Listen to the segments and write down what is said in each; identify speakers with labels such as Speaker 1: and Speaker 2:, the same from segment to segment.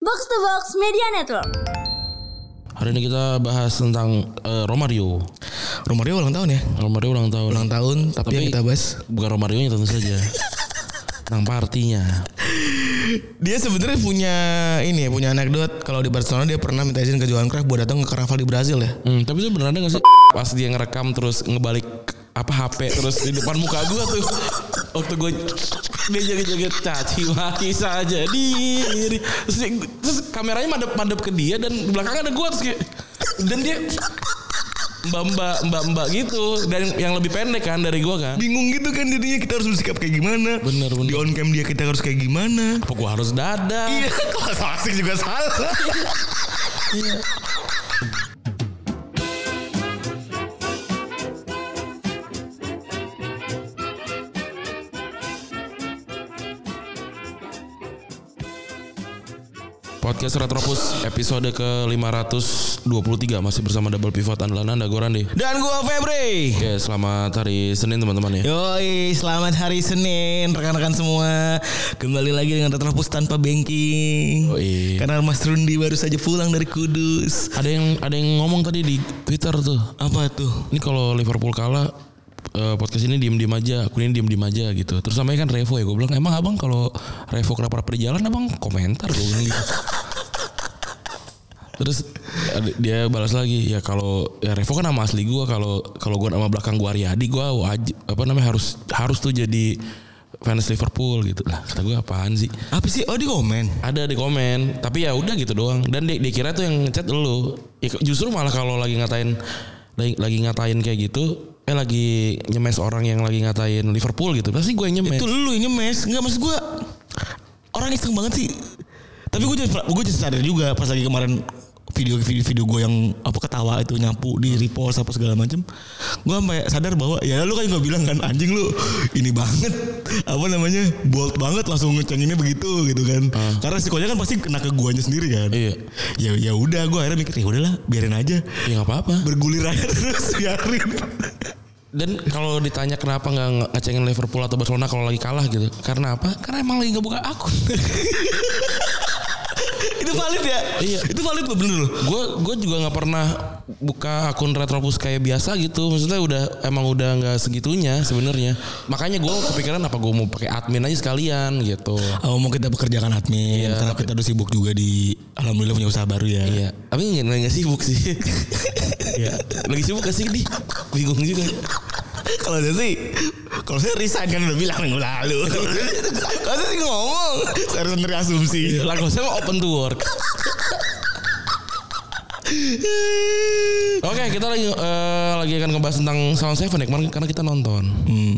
Speaker 1: Box to Box Media Network.
Speaker 2: Hari ini kita bahas tentang eh, Romario.
Speaker 3: Romario ulang tahun ya?
Speaker 2: Romario ulang tahun.
Speaker 3: Ulang tahun tapi,
Speaker 2: Tapi-
Speaker 3: yang kita bahas
Speaker 2: Bukan Romario nya tentu saja. tentang partinya.
Speaker 3: dia sebenarnya punya ini ya, punya anekdot kalau di Barcelona dia pernah minta izin ke Johan Cruyff buat datang ke karnaval di Brazil ya.
Speaker 2: Hmm, tapi itu beneran ada gak sih? Pas dia ngerekam terus ngebalik apa HP terus di depan muka gua tuh. Waktu gue dia joget-joget caci maki saja diri. Terus, dia- terus kameranya madep-madep ke dia dan di belakang ada gua terus kayak dan dia mbak-mbak mbak-mbak gitu dan yang lebih pendek kan dari gua kan.
Speaker 3: Bingung gitu kan jadinya kita harus bersikap kayak gimana?
Speaker 2: Bener, bener.
Speaker 3: Di on cam dia kita harus kayak gimana?
Speaker 2: Apa gua harus dadah?
Speaker 3: Iya, kalau asik juga salah.
Speaker 2: Iya. Podcast Retropus episode ke-523 masih bersama Double Pivot andalan Anda Goran deh.
Speaker 3: Dan gua Febri.
Speaker 2: Oke, selamat hari Senin teman-teman ya.
Speaker 3: Yoi, selamat hari Senin rekan-rekan semua. Kembali lagi dengan Retropus tanpa banking.
Speaker 2: Yoi.
Speaker 3: Karena Mas Rundi baru saja pulang dari Kudus.
Speaker 2: Ada yang ada yang ngomong tadi di Twitter tuh.
Speaker 3: Apa tuh?
Speaker 2: Ini kalau Liverpool kalah eh, podcast ini diem-diem aja, aku ini diem-diem aja gitu. Terus namanya kan Revo ya, gue bilang emang abang kalau Revo kenapa-napa di jalan abang komentar gue bilang gitu. Terus ada- dia balas lagi ya kalau ya Revo kan nama asli gua kalau kalau gua nama belakang gua Ariadi gua wajib apa namanya harus harus tuh jadi fans Liverpool gitu lah kata gua apaan sih
Speaker 3: Apa sih? Oh, di komen.
Speaker 2: ada di komen tapi ya udah gitu doang dan dia, dia kira tuh yang ngechat lu Ya, justru malah kalau lagi ngatain lagi, lagi ngatain kayak gitu eh lagi nyemes orang yang lagi ngatain Liverpool gitu pasti gue yang nyemes
Speaker 3: Itu lu yang nyemes Enggak maksud gue Orang iseng banget sih Tapi gue jadi, gue jadi sadar juga Pas lagi kemarin video-video video gue yang apa ketawa itu nyapu di repost apa segala macem gue sampai sadar bahwa ya lu kan gue bilang kan anjing lu ini banget apa namanya bold banget langsung ngecenginnya begitu gitu kan karena resikonya kan pasti kena ke guanya sendiri kan
Speaker 2: Iya.
Speaker 3: ya ya udah gue akhirnya mikir ya udahlah biarin aja
Speaker 2: ya nggak apa-apa
Speaker 3: bergulir aja terus biarin
Speaker 2: dan kalau ditanya kenapa nggak nge- ngecengin Liverpool atau Barcelona kalau lagi kalah gitu karena apa karena emang lagi nggak buka akun
Speaker 3: itu valid ya
Speaker 2: Iya.
Speaker 3: itu valid loh bener loh
Speaker 2: gue gue juga nggak pernah buka akun retropus kayak biasa gitu maksudnya udah emang udah nggak segitunya sebenarnya makanya gue kepikiran apa gue mau pakai admin aja sekalian gitu
Speaker 3: Oh, mau kita bekerjakan admin karena kita udah sibuk juga di alhamdulillah punya usaha baru ya.
Speaker 2: Iya, tapi nggak nggak sibuk sih. Iya, lagi sibuk gak sih di? Bingung juga.
Speaker 3: kalau saya sih kalau saya resign kan udah bilang minggu lalu. kalau saya sih ngomong, saya harus sendiri asumsi.
Speaker 2: Iya, Lah kalau saya mau open to work. Oke, kita lagi eh, lagi akan ngebahas tentang Salon Seven ya kemarin karena kita nonton.
Speaker 3: Hmm,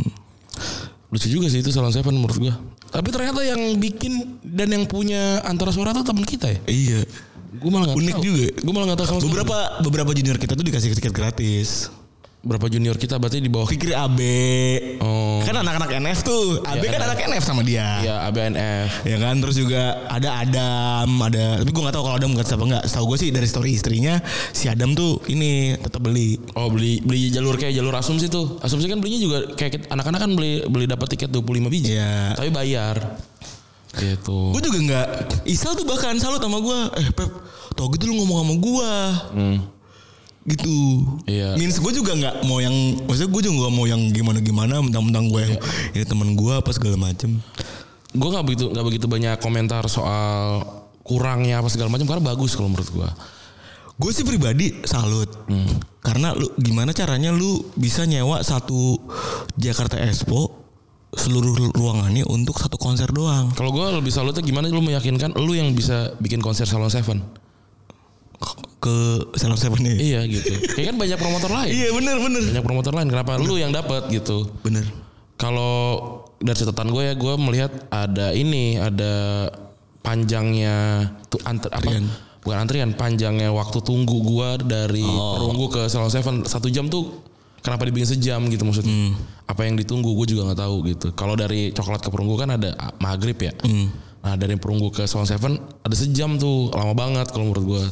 Speaker 2: Lucu juga sih itu Salon Seven menurut gua. Tapi ternyata yang bikin dan yang punya antara suara tuh teman kita ya.
Speaker 3: Iya.
Speaker 2: Gua malah nggak
Speaker 3: Unik
Speaker 2: tahu.
Speaker 3: juga.
Speaker 2: Gua malah nggak tahu sama sekali.
Speaker 3: Beberapa beberapa junior kita tuh dikasih tiket gratis.
Speaker 2: berapa junior kita berarti di bawah
Speaker 3: Pikir AB.
Speaker 2: Oh. Iya,
Speaker 3: Kan anak-anak NF tuh. AB kan anak NF sama dia.
Speaker 2: ya ABNF.
Speaker 3: Ya kan terus juga ada Adam, ada tapi gue nggak tahu kalau Adam bukan siapa nggak. Setahu gue sih dari story istrinya si Adam tuh ini tetap beli.
Speaker 2: Oh beli beli jalur kayak jalur asumsi tuh. Asumsi kan belinya juga kayak kita- anak-anak kan beli beli dapat tiket 25 biji.
Speaker 3: Iya.
Speaker 2: Tapi bayar. Gitu.
Speaker 3: Gue juga nggak Isal tuh bahkan salut sama gue Eh Pep Tau gitu lu ngomong sama gue Gitu
Speaker 2: Iya.
Speaker 3: Means gue juga nggak mau yang Maksudnya gue juga nggak mau yang gimana-gimana Mentang-mentang gue yang Ini temen gue apa segala macem
Speaker 2: Gue nggak begitu nggak begitu banyak komentar soal kurangnya apa segala macam karena bagus kalau menurut gua.
Speaker 3: Gue sih pribadi salut Karena lu gimana caranya lu bisa nyewa satu Jakarta Expo Seluruh ruangannya untuk satu konser doang
Speaker 2: Kalau gua lebih salutnya gimana lu meyakinkan lu yang bisa bikin konser Salon Seven.
Speaker 3: Ke Salon Seven ya
Speaker 2: Iya gitu. Kayak kan banyak promotor lain.
Speaker 3: Iya bener bener
Speaker 2: Banyak promotor lain kenapa lu yang dapat gitu.
Speaker 3: Bener
Speaker 2: Kalau dari catatan gue ya, gue melihat ada ini, ada panjangnya tuh antre, apa?
Speaker 3: Antrian.
Speaker 2: Bukan antrian, panjangnya waktu tunggu gue dari perunggu ke Salon Seven satu jam tuh kenapa dibikin sejam gitu maksudnya? Apa yang ditunggu gue juga nggak tahu gitu. Kalau dari coklat ke perunggu kan ada ah, maghrib ya. Nah dari perunggu ke Salon Seven ada sejam tuh lama banget kalau menurut gue.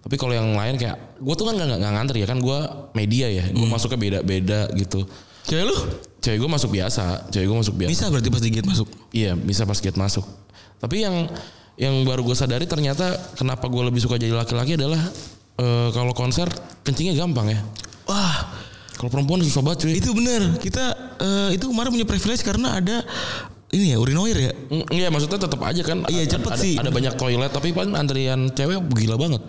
Speaker 2: Tapi kalau yang lain kayak gue tuh kan nggak nggak- nggak ngantri ya kan gue media ya, gue masuknya beda-beda gitu. Cewek lu? Cewek gue Iya. masuk biasa. Cewek gue masuk biasa.
Speaker 3: Bisa berarti pas digigit masuk
Speaker 2: Iya, bisa pas gate masuk. Tapi yang yang baru gue sadari ternyata kenapa gue lebih suka jadi laki-laki adalah eh, kalau konser kencingnya gampang ya.
Speaker 3: Wah,
Speaker 2: Kalau perempuan susah banget cuy.
Speaker 3: itu bener. Kita eh, itu kemarin punya privilege karena ada ini ya urinoir ya.
Speaker 2: Mm, Iya maksudnya tetap aja kan.
Speaker 3: Iya,
Speaker 2: ada-
Speaker 3: cepet
Speaker 2: ada,
Speaker 3: sih.
Speaker 2: Ada banyak toilet tapi kan antrian cewek gila banget.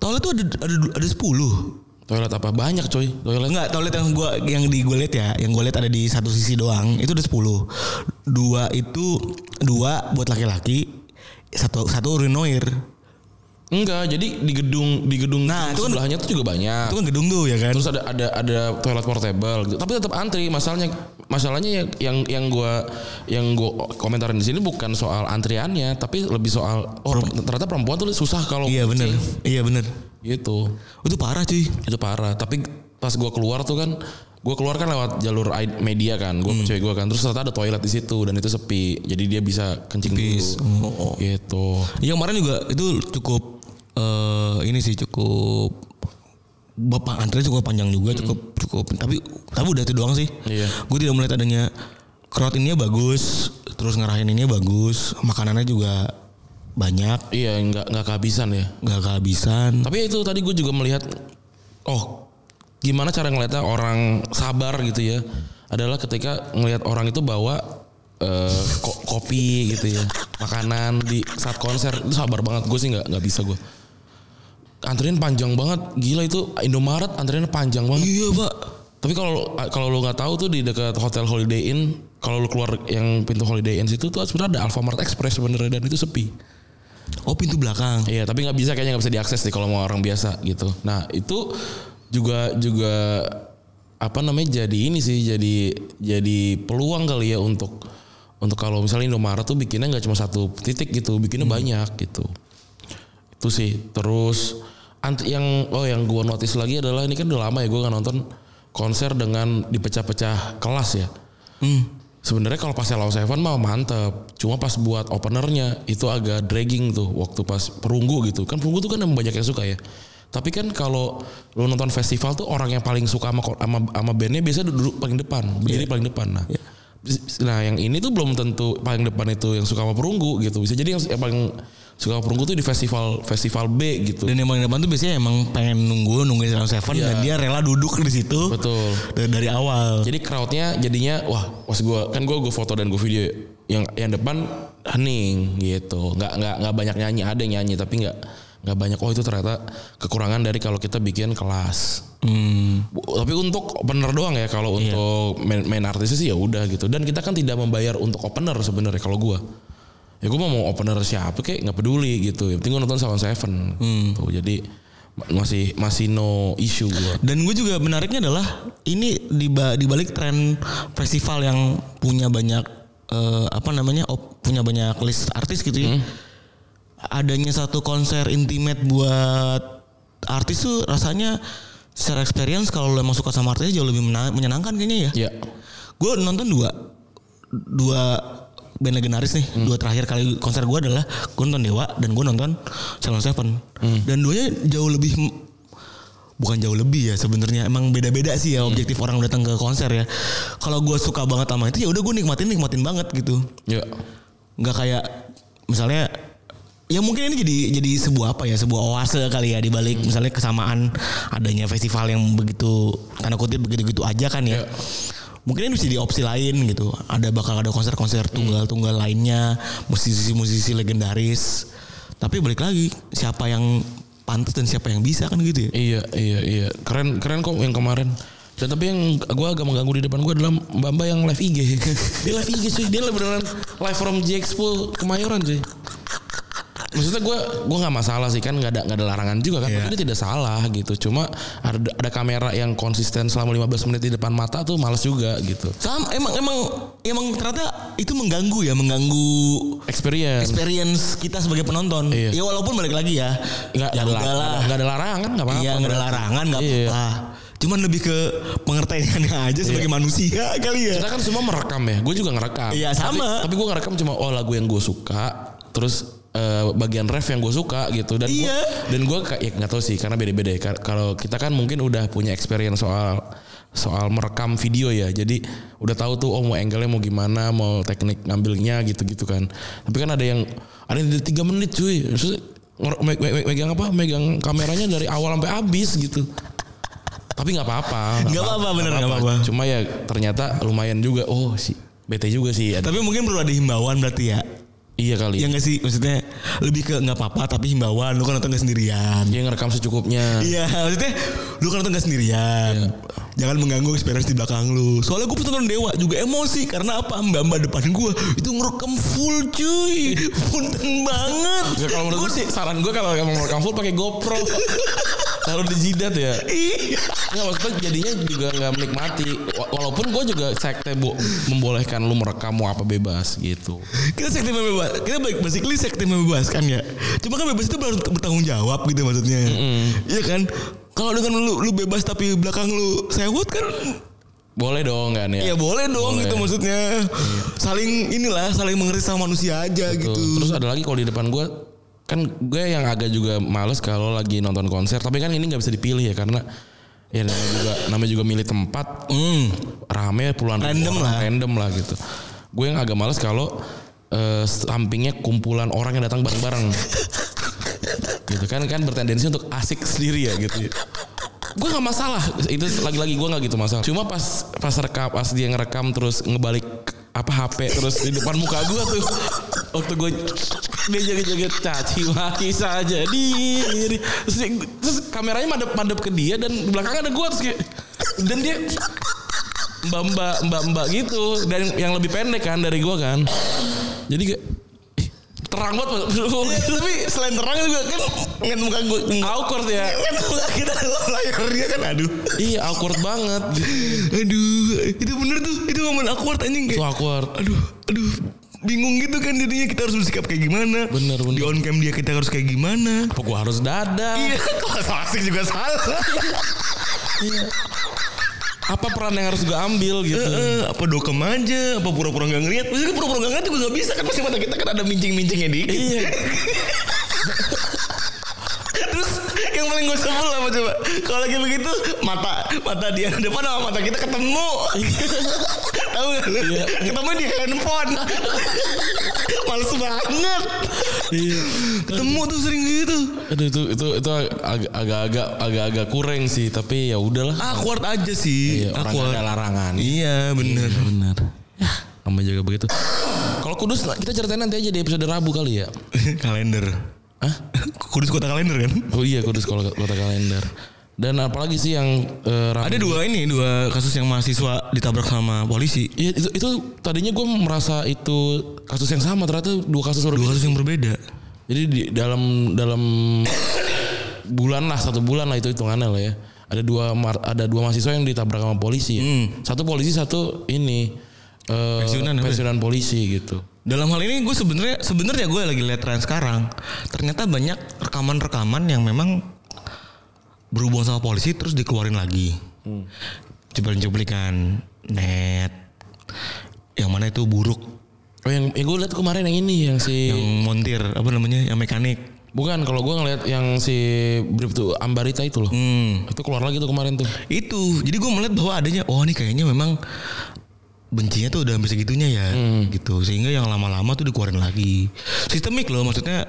Speaker 3: Toilet tuh ada ada ada 10.
Speaker 2: Toilet apa banyak coy toilet.
Speaker 3: Enggak, toilet yang gua yang di gue lihat ya, yang gue lihat ada di satu sisi doang. Itu ada 10. Dua itu dua buat laki-laki, satu satu urinoir.
Speaker 2: Enggak jadi di gedung di gedung
Speaker 3: Nah, itu kan-
Speaker 2: sebelahnya tuh juga banyak.
Speaker 3: Itu kan gedung tuh ya kan.
Speaker 2: Terus ada ada ada toilet portable gitu. Tapi tetap antri masalahnya masalahnya yang yang yang gua yang gua komentarin di sini bukan soal antriannya tapi lebih soal oh ternyata perempuan tuh susah kalau
Speaker 3: iya bener.
Speaker 2: kencing.
Speaker 3: Iya bener.
Speaker 2: Gitu.
Speaker 3: Itu parah cuy.
Speaker 2: Itu parah. Tapi pas gua keluar tuh kan gua keluar kan lewat jalur I- media kan.
Speaker 3: Hmm.
Speaker 2: Gua ke cewek gua kan. Terus ternyata ada toilet di situ dan itu sepi. Jadi dia bisa kencing
Speaker 3: Pis.
Speaker 2: dulu.
Speaker 3: Oh, oh.
Speaker 2: Gitu.
Speaker 3: Iya kemarin juga itu cukup eh ini sih cukup bapak antre cukup panjang juga cukup cukup tapi tapi udah itu doang sih.
Speaker 2: Iya.
Speaker 3: Gue tidak melihat adanya crowd ininya bagus, terus ngerahin ininya bagus, makanannya juga banyak,
Speaker 2: Iya, nggak nggak kehabisan ya.
Speaker 3: nggak kehabisan.
Speaker 2: Tapi itu tadi gue juga melihat, oh gimana cara ngeliatnya orang sabar gitu ya, adalah ketika ngelihat orang itu bawa eh, ko- kopi gitu ya, makanan di saat konser itu sabar banget gue sih nggak nggak bisa gue. Antrian panjang banget, gila itu Indomaret antriannya panjang banget.
Speaker 3: Iya pak.
Speaker 2: Tapi kalau kalau lu nggak tahu tuh di dekat hotel Holiday Inn, kalau lu keluar yang pintu Holiday Inn situ tuh sebenarnya ada Alfamart Express sebenarnya dan itu sepi.
Speaker 3: Oh pintu belakang.
Speaker 2: Iya, tapi nggak bisa kayaknya nggak bisa diakses deh kalau mau orang biasa gitu. Nah itu juga juga apa namanya jadi ini sih jadi jadi peluang kali ya untuk untuk kalau misalnya Indomaret tuh bikinnya nggak cuma satu titik gitu, bikinnya banyak gitu. Itu sih. Terus ant- yang oh yang gua notice lagi adalah ini kan udah lama ya gua nggak nonton konser dengan dipecah-pecah kelas ya. Sebenarnya kalau pas Hello Seven mah mantep, cuma pas buat openernya itu agak dragging tuh waktu pas perunggu gitu. Kan perunggu tuh kan emang banyak yang suka ya. Tapi kan kalau lu nonton festival tuh orang yang paling suka sama sama, sama bandnya biasanya duduk paling depan, berdiri paling depan. Nah, nah yang ini tuh belum tentu paling depan itu yang suka sama perunggu gitu. Bisa jadi yang, yang paling suka sama perunggu tuh di festival festival B gitu.
Speaker 3: Dan yang paling depan tuh biasanya emang pengen nunggu nungguin Sound Seven dan dia rela duduk di situ.
Speaker 2: Iya. Betul.
Speaker 3: Dari, dari awal.
Speaker 2: Jadi crowdnya jadinya wah pas gue kan gue gue foto dan gue video ya. yang yang depan hening gitu nggak nggak nggak banyak nyanyi ada yang nyanyi tapi nggak nggak banyak oh itu ternyata kekurangan dari kalau kita bikin kelas
Speaker 3: Hmm.
Speaker 2: Bu- tapi untuk opener doang ya kalau untuk main, main artisnya sih ya udah gitu dan kita kan tidak membayar untuk opener sebenarnya kalau gue ya gue mau mau opener siapa kek nggak peduli gitu yang penting gue nonton Sound Seven tuh jadi ma- masih masih no issue gue
Speaker 3: Dan gue juga menariknya adalah ini di ba- di balik tren festival yang punya banyak eh, apa namanya op- punya banyak list artis gitu ya. Adanya satu konser intimate buat artis tuh rasanya secara experience kalau lo emang suka sama artisnya jauh lebih mena- menyenangkan kayaknya ya.
Speaker 2: ya
Speaker 3: Gue nonton dua dua band legendaris nih dua terakhir kali konser gue adalah gue nonton Dewa dan gue nonton Salon Seven dan duanya jauh lebih bukan jauh lebih ya sebenarnya emang beda-beda sih ya objektif orang datang ke konser ya kalau gue suka banget sama itu ya udah gue nikmatin nikmatin banget gitu
Speaker 2: ya
Speaker 3: nggak kayak misalnya ya mungkin ini jadi jadi sebuah apa ya sebuah oase kali ya dibalik misalnya kesamaan adanya festival yang begitu tanda kutip begitu gitu aja kan ya mungkin ini bisa di opsi lain gitu ada bakal ada konser-konser tunggal-tunggal lainnya musisi-musisi legendaris tapi balik lagi siapa yang pantas dan siapa yang bisa kan gitu ya
Speaker 2: Iya iya iya keren keren kok yang kemarin. Dan tapi yang gue agak mengganggu di depan gue adalah mbak mbak yang live IG. dia live IG cuy, dia beneran live from Jexpo Kemayoran cuy. Maksudnya gue gua nggak masalah sih kan nggak ada nggak ada larangan juga kan.
Speaker 3: Iya.
Speaker 2: Tapi dia tidak salah gitu. Cuma ada ada kamera yang konsisten selama 15 menit di depan mata tuh males juga gitu.
Speaker 3: Sama, emang emang emang ternyata itu mengganggu ya mengganggu
Speaker 2: Experience.
Speaker 3: experience kita sebagai penonton.
Speaker 2: Iya.
Speaker 3: Ya walaupun balik lagi ya,
Speaker 2: Nggak ada,
Speaker 3: ya udah
Speaker 2: lar-
Speaker 3: lah.
Speaker 2: nggak ada larangan nggak apa-apa.
Speaker 3: Iya nggak ada larangan nggak
Speaker 2: Iya.
Speaker 3: apa-apa. Cuman lebih ke pengertiannya aja sebagai manusia kali ya.
Speaker 2: Kita kan semua merekam ya. Gue juga ngerekam.
Speaker 3: Iya, sama.
Speaker 2: Tapi, tapi gue ngerekam cuma oh lagu yang gue suka. Terus eh, bagian ref yang gue suka gitu dan
Speaker 3: Iya.
Speaker 2: gue dan gue kayak ya nggak tahu sih karena beda-beda ya. Kar- Kalau kita kan mungkin udah punya experience soal soal merekam video ya. Jadi udah tahu tuh oh mau angle-nya mau gimana, mau teknik ngambilnya gitu-gitu kan. Tapi kan ada yang ada yang tiga menit cuy. Terus nge- me- me- me- megang apa? Megang kameranya dari awal sampai habis gitu. Tapi nggak apa-apa.
Speaker 3: Nggak apa-apa, bener, nggak apa-apa.
Speaker 2: Cuma ya ternyata lumayan juga. Oh sih, bete juga sih. Ada-
Speaker 3: Tapi mungkin perlu ada himbauan berarti ya.
Speaker 2: iya kali.
Speaker 3: Yang gak sih maksudnya lebih ke nggak apa-apa tapi himbauan lu kan nonton gak sendirian.
Speaker 2: dia ngerekam secukupnya.
Speaker 3: Iya maksudnya lu kan nonton gak sendirian.
Speaker 2: Iya.
Speaker 3: Jangan mengganggu experience di belakang lu. Soalnya gue pas nonton Dewa juga emosi karena apa mbak-mbak depan gue itu ngerekam full cuy.
Speaker 2: Iya.
Speaker 3: Punten banget.
Speaker 2: Ya, kalau menurut gue sih saran gue kalau emang rekam full pakai GoPro. Taruh di jidat ya.
Speaker 3: Iya.
Speaker 2: Nggak maksudnya jadinya juga nggak menikmati. Wa- Walaupun gue juga sekte bu, membolehkan lu merekam mau apa bebas gitu.
Speaker 3: kita sekte bebas kita baik basically sekte membebaskan ya cuma kan bebas itu harus bertanggung jawab gitu maksudnya iya kan kalau dengan lu lu bebas tapi belakang lu sewot kan
Speaker 2: Boleh dong kan ya.
Speaker 3: ya boleh dong
Speaker 2: Boleh. Iya.
Speaker 3: gitu maksudnya saling inilah saling mengerti sama manusia aja
Speaker 2: Tuh.
Speaker 3: gitu
Speaker 2: Terus ada lagi kalau di depan gue kan gue yang agak juga males kalau lagi nonton konser. Tapi kan ini nggak bisa dipilih ya karena ya namanya juga namanya juga milih tempat
Speaker 3: Hmm.
Speaker 2: rame puluhan ribu
Speaker 3: Random
Speaker 2: orang,
Speaker 3: lah.
Speaker 2: random lah gitu gue yang agak males kalau eh, sampingnya kumpulan orang yang datang bareng-bareng gitu kan kan bertendensi untuk asik sendiri ya gitu gue nggak masalah itu lagi-lagi gue nggak gitu masalah cuma pas pas rekam pas dia ngerekam terus ngebalik apa HP terus di depan muka gue tuh waktu gue dia jaga-jaga caci maki saja diri terus, dia- terus kameranya madep-madep ke dia dan di belakang ada gue terus kayak dan dia mbak-mbak mbak-mbak gitu dan yang lebih pendek kan dari gue kan jadi kayak ih, terang banget
Speaker 3: Iya, tapi selain terang juga kan ngeliat muka Iya. gue
Speaker 2: awkward ya
Speaker 3: ngeliat muka kita dalam layarnya kan aduh
Speaker 2: iya awkward banget gitu.
Speaker 3: aduh itu bener tuh itu momen awkward anjing kayak
Speaker 2: Itu awkward
Speaker 3: aduh aduh bingung gitu kan jadinya kita harus bersikap kayak gimana
Speaker 2: Bener, bener.
Speaker 3: di on cam dia kita harus kayak gimana
Speaker 2: apa gue harus dadah
Speaker 3: iya kalau sama asik juga salah
Speaker 2: apa peran yang harus gue ambil gitu
Speaker 3: Eh, apa dokem aja apa pura-pura nggak ngeliat maksudnya pura-pura nggak ngeliat juga nggak bisa kan pasti mata kita kan ada mincing-mincingnya dikit
Speaker 2: iya
Speaker 3: terus yang paling gue sebel apa coba kalau lagi begitu mata mata dia depan sama mata kita ketemu
Speaker 2: Iya.
Speaker 3: tahu nggak lu? ketemu di handphone males banget
Speaker 2: iya
Speaker 3: ketemu tuh sering gitu
Speaker 2: aduh itu itu itu agak- agak-agak agak-agak kurang sih tapi ya udahlah
Speaker 3: awkward aja sih
Speaker 2: Iya, orang
Speaker 3: awkward.
Speaker 2: ada larangan
Speaker 3: Iya bener
Speaker 2: benar
Speaker 3: Ya.
Speaker 2: sama juga begitu kalau kudus kita ceritain nanti aja di episode rabu kali ya
Speaker 3: Kalender
Speaker 2: Hah?
Speaker 3: Kudus kota kalender kan
Speaker 2: Oh iya kudus kalau kota kalender. Dan apalagi sih yang eh, ram-
Speaker 3: Ada dua ini Dua kasus yang mahasiswa ditabrak sama polisi
Speaker 2: Ya, itu, itu tadinya gue merasa itu kasus yang sama ternyata dua kasus
Speaker 3: Dua
Speaker 2: berbeda.
Speaker 3: kasus yang berbeda
Speaker 2: Jadi di dalam dalam bulan lah satu bulan lah itu hitungannya lah ya. Ada dua mar- ada dua mahasiswa yang ditabrak sama polisi. Ya.
Speaker 3: Hmm.
Speaker 2: Satu polisi satu ini eh,
Speaker 3: Pensiunan apa ya?
Speaker 2: pensiunan polisi gitu.
Speaker 3: Dalam hal ini gue sebenarnya sebenarnya gue lagi lihat tren sekarang Ternyata banyak rekaman-rekaman yang memang Berhubungan sama polisi terus dikeluarin lagi Cuplikan-cuplikan Net Yang mana itu buruk
Speaker 2: Oh yang, yang gue lihat kemarin yang ini yang si
Speaker 3: Yang montir Apa namanya Yang mekanik
Speaker 2: bukan kalau gue ngeliat yang si Bribtu Ambarita itu loh.
Speaker 3: Hmm.
Speaker 2: Itu keluar lagi tuh kemarin tuh.
Speaker 3: itu jadi gue melihat bahwa adanya oh ini kayaknya memang bencinya tuh udah sampai segitunya ya gitu sehingga yang lama-lama tuh dikeluarin lagi sistemik loh maksudnya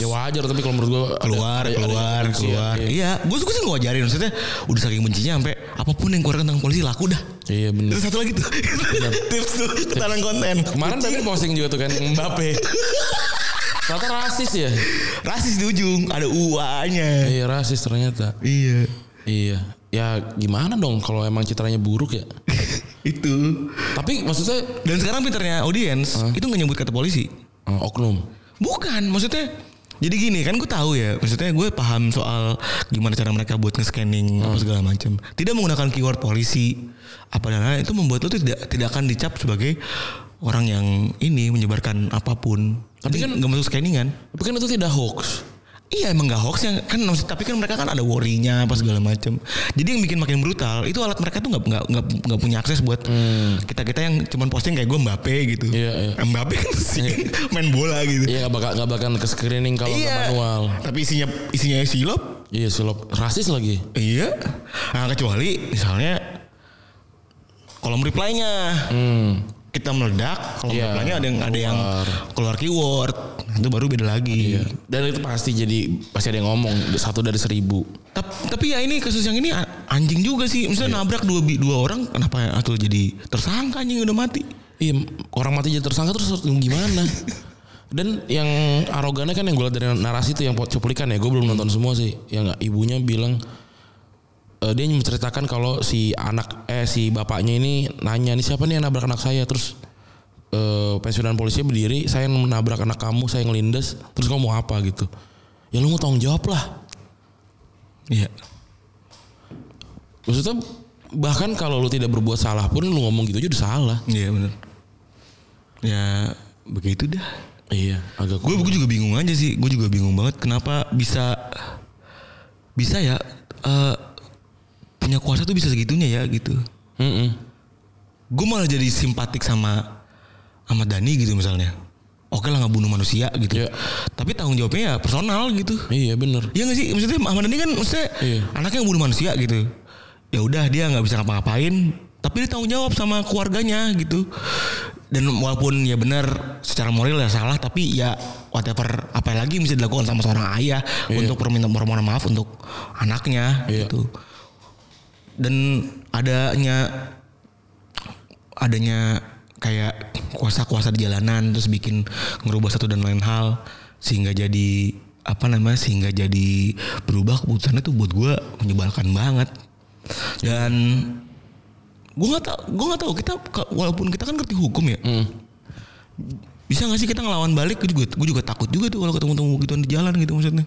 Speaker 2: Ya wajar tapi kalau menurut gue
Speaker 3: keluar keluar keluar iya gue suka sih ngajarin maksudnya udah saking bencinya sampai apapun yang keluar tentang polisi laku dah
Speaker 2: Iya bener.
Speaker 3: Terus satu lagi tuh tips tuh ketahanan konten
Speaker 2: Kemarin tadi posting juga tuh kan yang Mbappe. Ternyata rasis ya.
Speaker 3: rasis di ujung ada UA-nya
Speaker 2: Iya rasis ternyata.
Speaker 3: iya
Speaker 2: Iya. Ya gimana dong kalau emang citranya buruk ya.
Speaker 3: itu
Speaker 2: Tapi maksudnya
Speaker 3: dan sekarang pinternya audiens itu nggak nyebut kata polisi
Speaker 2: eh, oknum.
Speaker 3: Bukan, maksudnya jadi gini kan gue tahu ya, maksudnya gue paham soal gimana cara mereka buat nge-scanning apa
Speaker 2: Hmm.
Speaker 3: segala macam. Tidak menggunakan keyword polisi apa dan lain itu membuat lo tuh tidak tidak akan dicap sebagai orang yang ini menyebarkan apapun.
Speaker 2: Tapi
Speaker 3: Tapi
Speaker 2: kan-
Speaker 3: kan nggak masuk scanning kan?
Speaker 2: Tapi kan itu tidak hoax.
Speaker 3: Iya emang gak hoax yang kan maksud- tapi kan mereka kan ada worry-nya apa segala macam. Jadi yang bikin makin brutal itu alat mereka tuh nggak nggak nggak nggak punya akses buat kita kita yang cuman posting kayak gue Mbappe gitu.
Speaker 2: Hmm. Iya, iya.
Speaker 3: Mbappe kan sih main bola gitu.
Speaker 2: Iya gak bakal gak bakal ke screening kalau nggak manual.
Speaker 3: Tapi isinya isinya silop.
Speaker 2: Iya sulap rasis lagi.
Speaker 3: Iya. Nah, kecuali misalnya kolom reply-nya. Kita meledak, kolom
Speaker 2: Iya,
Speaker 3: reply-nya ada yang ada yang Hmm. keluar Iya. keyword. Nah, Itu baru beda lagi.
Speaker 2: Iya. Dan itu pasti jadi pasti ada yang ngomong satu dari seribu.
Speaker 3: Tap- Tapi, ya ini kasus yang ini a- anjing juga sih. Misalnya nabrak dua bi- dua orang, kenapa atau jadi tersangka anjing udah mati?
Speaker 2: Iya, orang mati jadi tersangka terus harus gimana? Dan yang arogannya kan yang gue liat dari narasi itu yang pot- cuplikan ya, gue belum nonton semua sih. Yang ibunya bilang eh, dia menceritakan kalau si anak eh si bapaknya ini nanya nih siapa nih yang nabrak anak saya terus eh pensiunan polisi berdiri saya yang menabrak anak kamu saya ngelindes terus kamu mau apa gitu ya lu mau tanggung jawab lah
Speaker 3: Iya.
Speaker 2: maksudnya bahkan kalau lu tidak berbuat salah pun lu ngomong gitu aja udah salah
Speaker 3: Iya benar. Ya begitu dah.
Speaker 2: iya agak
Speaker 3: Gue gue juga bingung aja sih. Gue juga bingung banget kenapa bisa bisa ya eh, punya kuasa tuh bisa segitunya ya gitu.
Speaker 2: Mm-mm.
Speaker 3: Gue malah jadi simpatik sama sama Dani gitu misalnya. Oke lah nggak bunuh manusia gitu.
Speaker 2: Iya.
Speaker 3: Tapi tanggung jawabnya ya personal gitu.
Speaker 2: iya bener
Speaker 3: Iya gak sih? Maksudnya Ahmad Dhani kan maksudnya
Speaker 2: Iya.
Speaker 3: anaknya yang bunuh manusia gitu. Ya udah dia nggak bisa ngapa-ngapain, tapi dia tanggung jawab sama keluarganya gitu. Dan walaupun ya benar secara moral ya salah, tapi ya whatever apa lagi yang bisa dilakukan sama seorang ayah untuk permintaan permohonan maaf untuk anaknya
Speaker 2: Iya.
Speaker 3: gitu. Dan adanya adanya kayak kuasa-kuasa di jalanan terus bikin ngerubah satu dan lain hal sehingga jadi apa namanya sehingga jadi berubah keputusannya tuh buat gue menyebalkan banget dan gue nggak tau gue nggak tahu kita ke- walaupun kita kan ngerti hukum ya bisa nggak sih kita ngelawan balik gue juga gue juga takut juga tuh kalau ketemu-temu gituan di jalan gitu maksudnya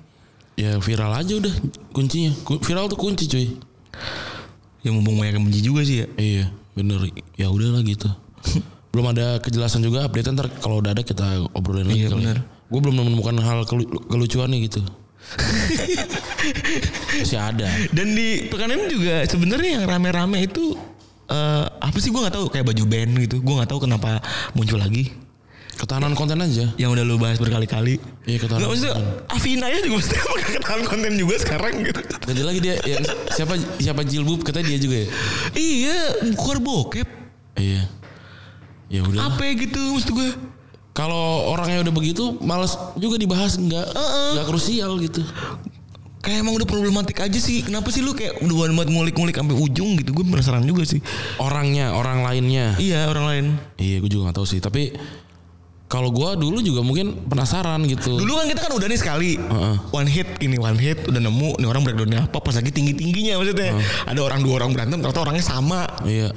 Speaker 2: ya viral aja udah kuncinya Ku- viral tuh kunci cuy
Speaker 3: ya mumpung banyak yang benci juga sih ya
Speaker 2: iya bener ya udahlah gitu belum ada kejelasan juga update ntar kalau udah ada kita obrolin lagi
Speaker 3: Iya, bener.
Speaker 2: gue belum menemukan hal kelu- kelucuannya gitu masih ada
Speaker 3: Dan di pekan ini juga sebenarnya yang rame-rame itu eh, apa sih gue nggak tahu kayak baju band gitu. Gue nggak tahu kenapa muncul lagi
Speaker 2: ketahanan konten aja
Speaker 3: yang udah lu bahas berkali-kali.
Speaker 2: Iya, ketahanan
Speaker 3: Nggak, maksudnya Avina ya juga mesti pakai ketahan konten juga sekarang gitu.
Speaker 2: jadi lagi dia yang siapa siapa jilbub katanya dia juga ya
Speaker 3: iya, keluar bokep.
Speaker 2: iya ya udah
Speaker 3: Apa gitu maksud gue?
Speaker 2: Kalau orangnya udah begitu, males juga dibahas nggak nggak krusial gitu.
Speaker 3: Kayak emang udah problematik aja sih. Kenapa sih lu kayak udah banget ngulik-ngulik sampai ujung gitu? Gue penasaran juga sih.
Speaker 2: Orangnya, orang lainnya.
Speaker 3: Iya orang lain.
Speaker 2: Iya, gue juga nggak tahu sih. Tapi kalau gua dulu juga mungkin penasaran gitu.
Speaker 3: Dulu kan kita kan udah nih sekali
Speaker 2: Heeh.
Speaker 3: one hit ini one hit udah nemu nih orang breakdownnya apa pas lagi tinggi tingginya maksudnya ada orang dua orang berantem ternyata orangnya sama
Speaker 2: Iya.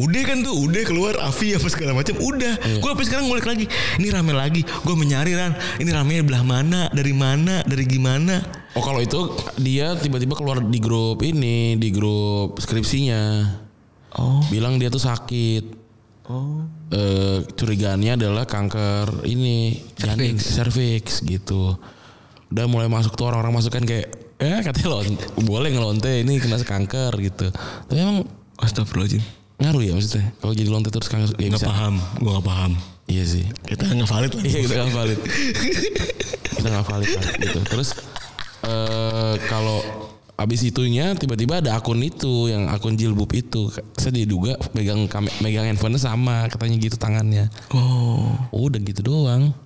Speaker 3: udah kan tuh udah keluar Avi apa segala macam udah
Speaker 2: Iya.
Speaker 3: gue sampai sekarang ngulik lagi ini rame lagi gue menyari Ran ini rame belah mana dari mana dari gimana
Speaker 2: Oh kalau itu dia tiba-tiba keluar di grup ini, di grup skripsinya,
Speaker 3: oh
Speaker 2: bilang dia tuh sakit.
Speaker 3: oh
Speaker 2: eh curigaannya adalah kanker ini janin cervix gitu. Udah mulai masuk tuh orang-orang masukkan kayak eh katanya lon boleh ngelonte ini kena kanker gitu. Tapi emang
Speaker 3: astagfirullahaladzim
Speaker 2: ngaruh ya maksudnya kalau jadi lonte terus kanker ya
Speaker 3: nggak
Speaker 2: bisa.
Speaker 3: paham gue nggak paham
Speaker 2: Iya sih.
Speaker 3: kita nggak valid lah
Speaker 2: Iya kita nggak valid. kita nggak valid kan, gitu. Terus eh kalau abis itunya tiba-tiba ada akun itu yang akun jilbub itu saya diduga pegang kame- megang handphonenya sama katanya gitu tangannya
Speaker 3: oh
Speaker 2: udah gitu doang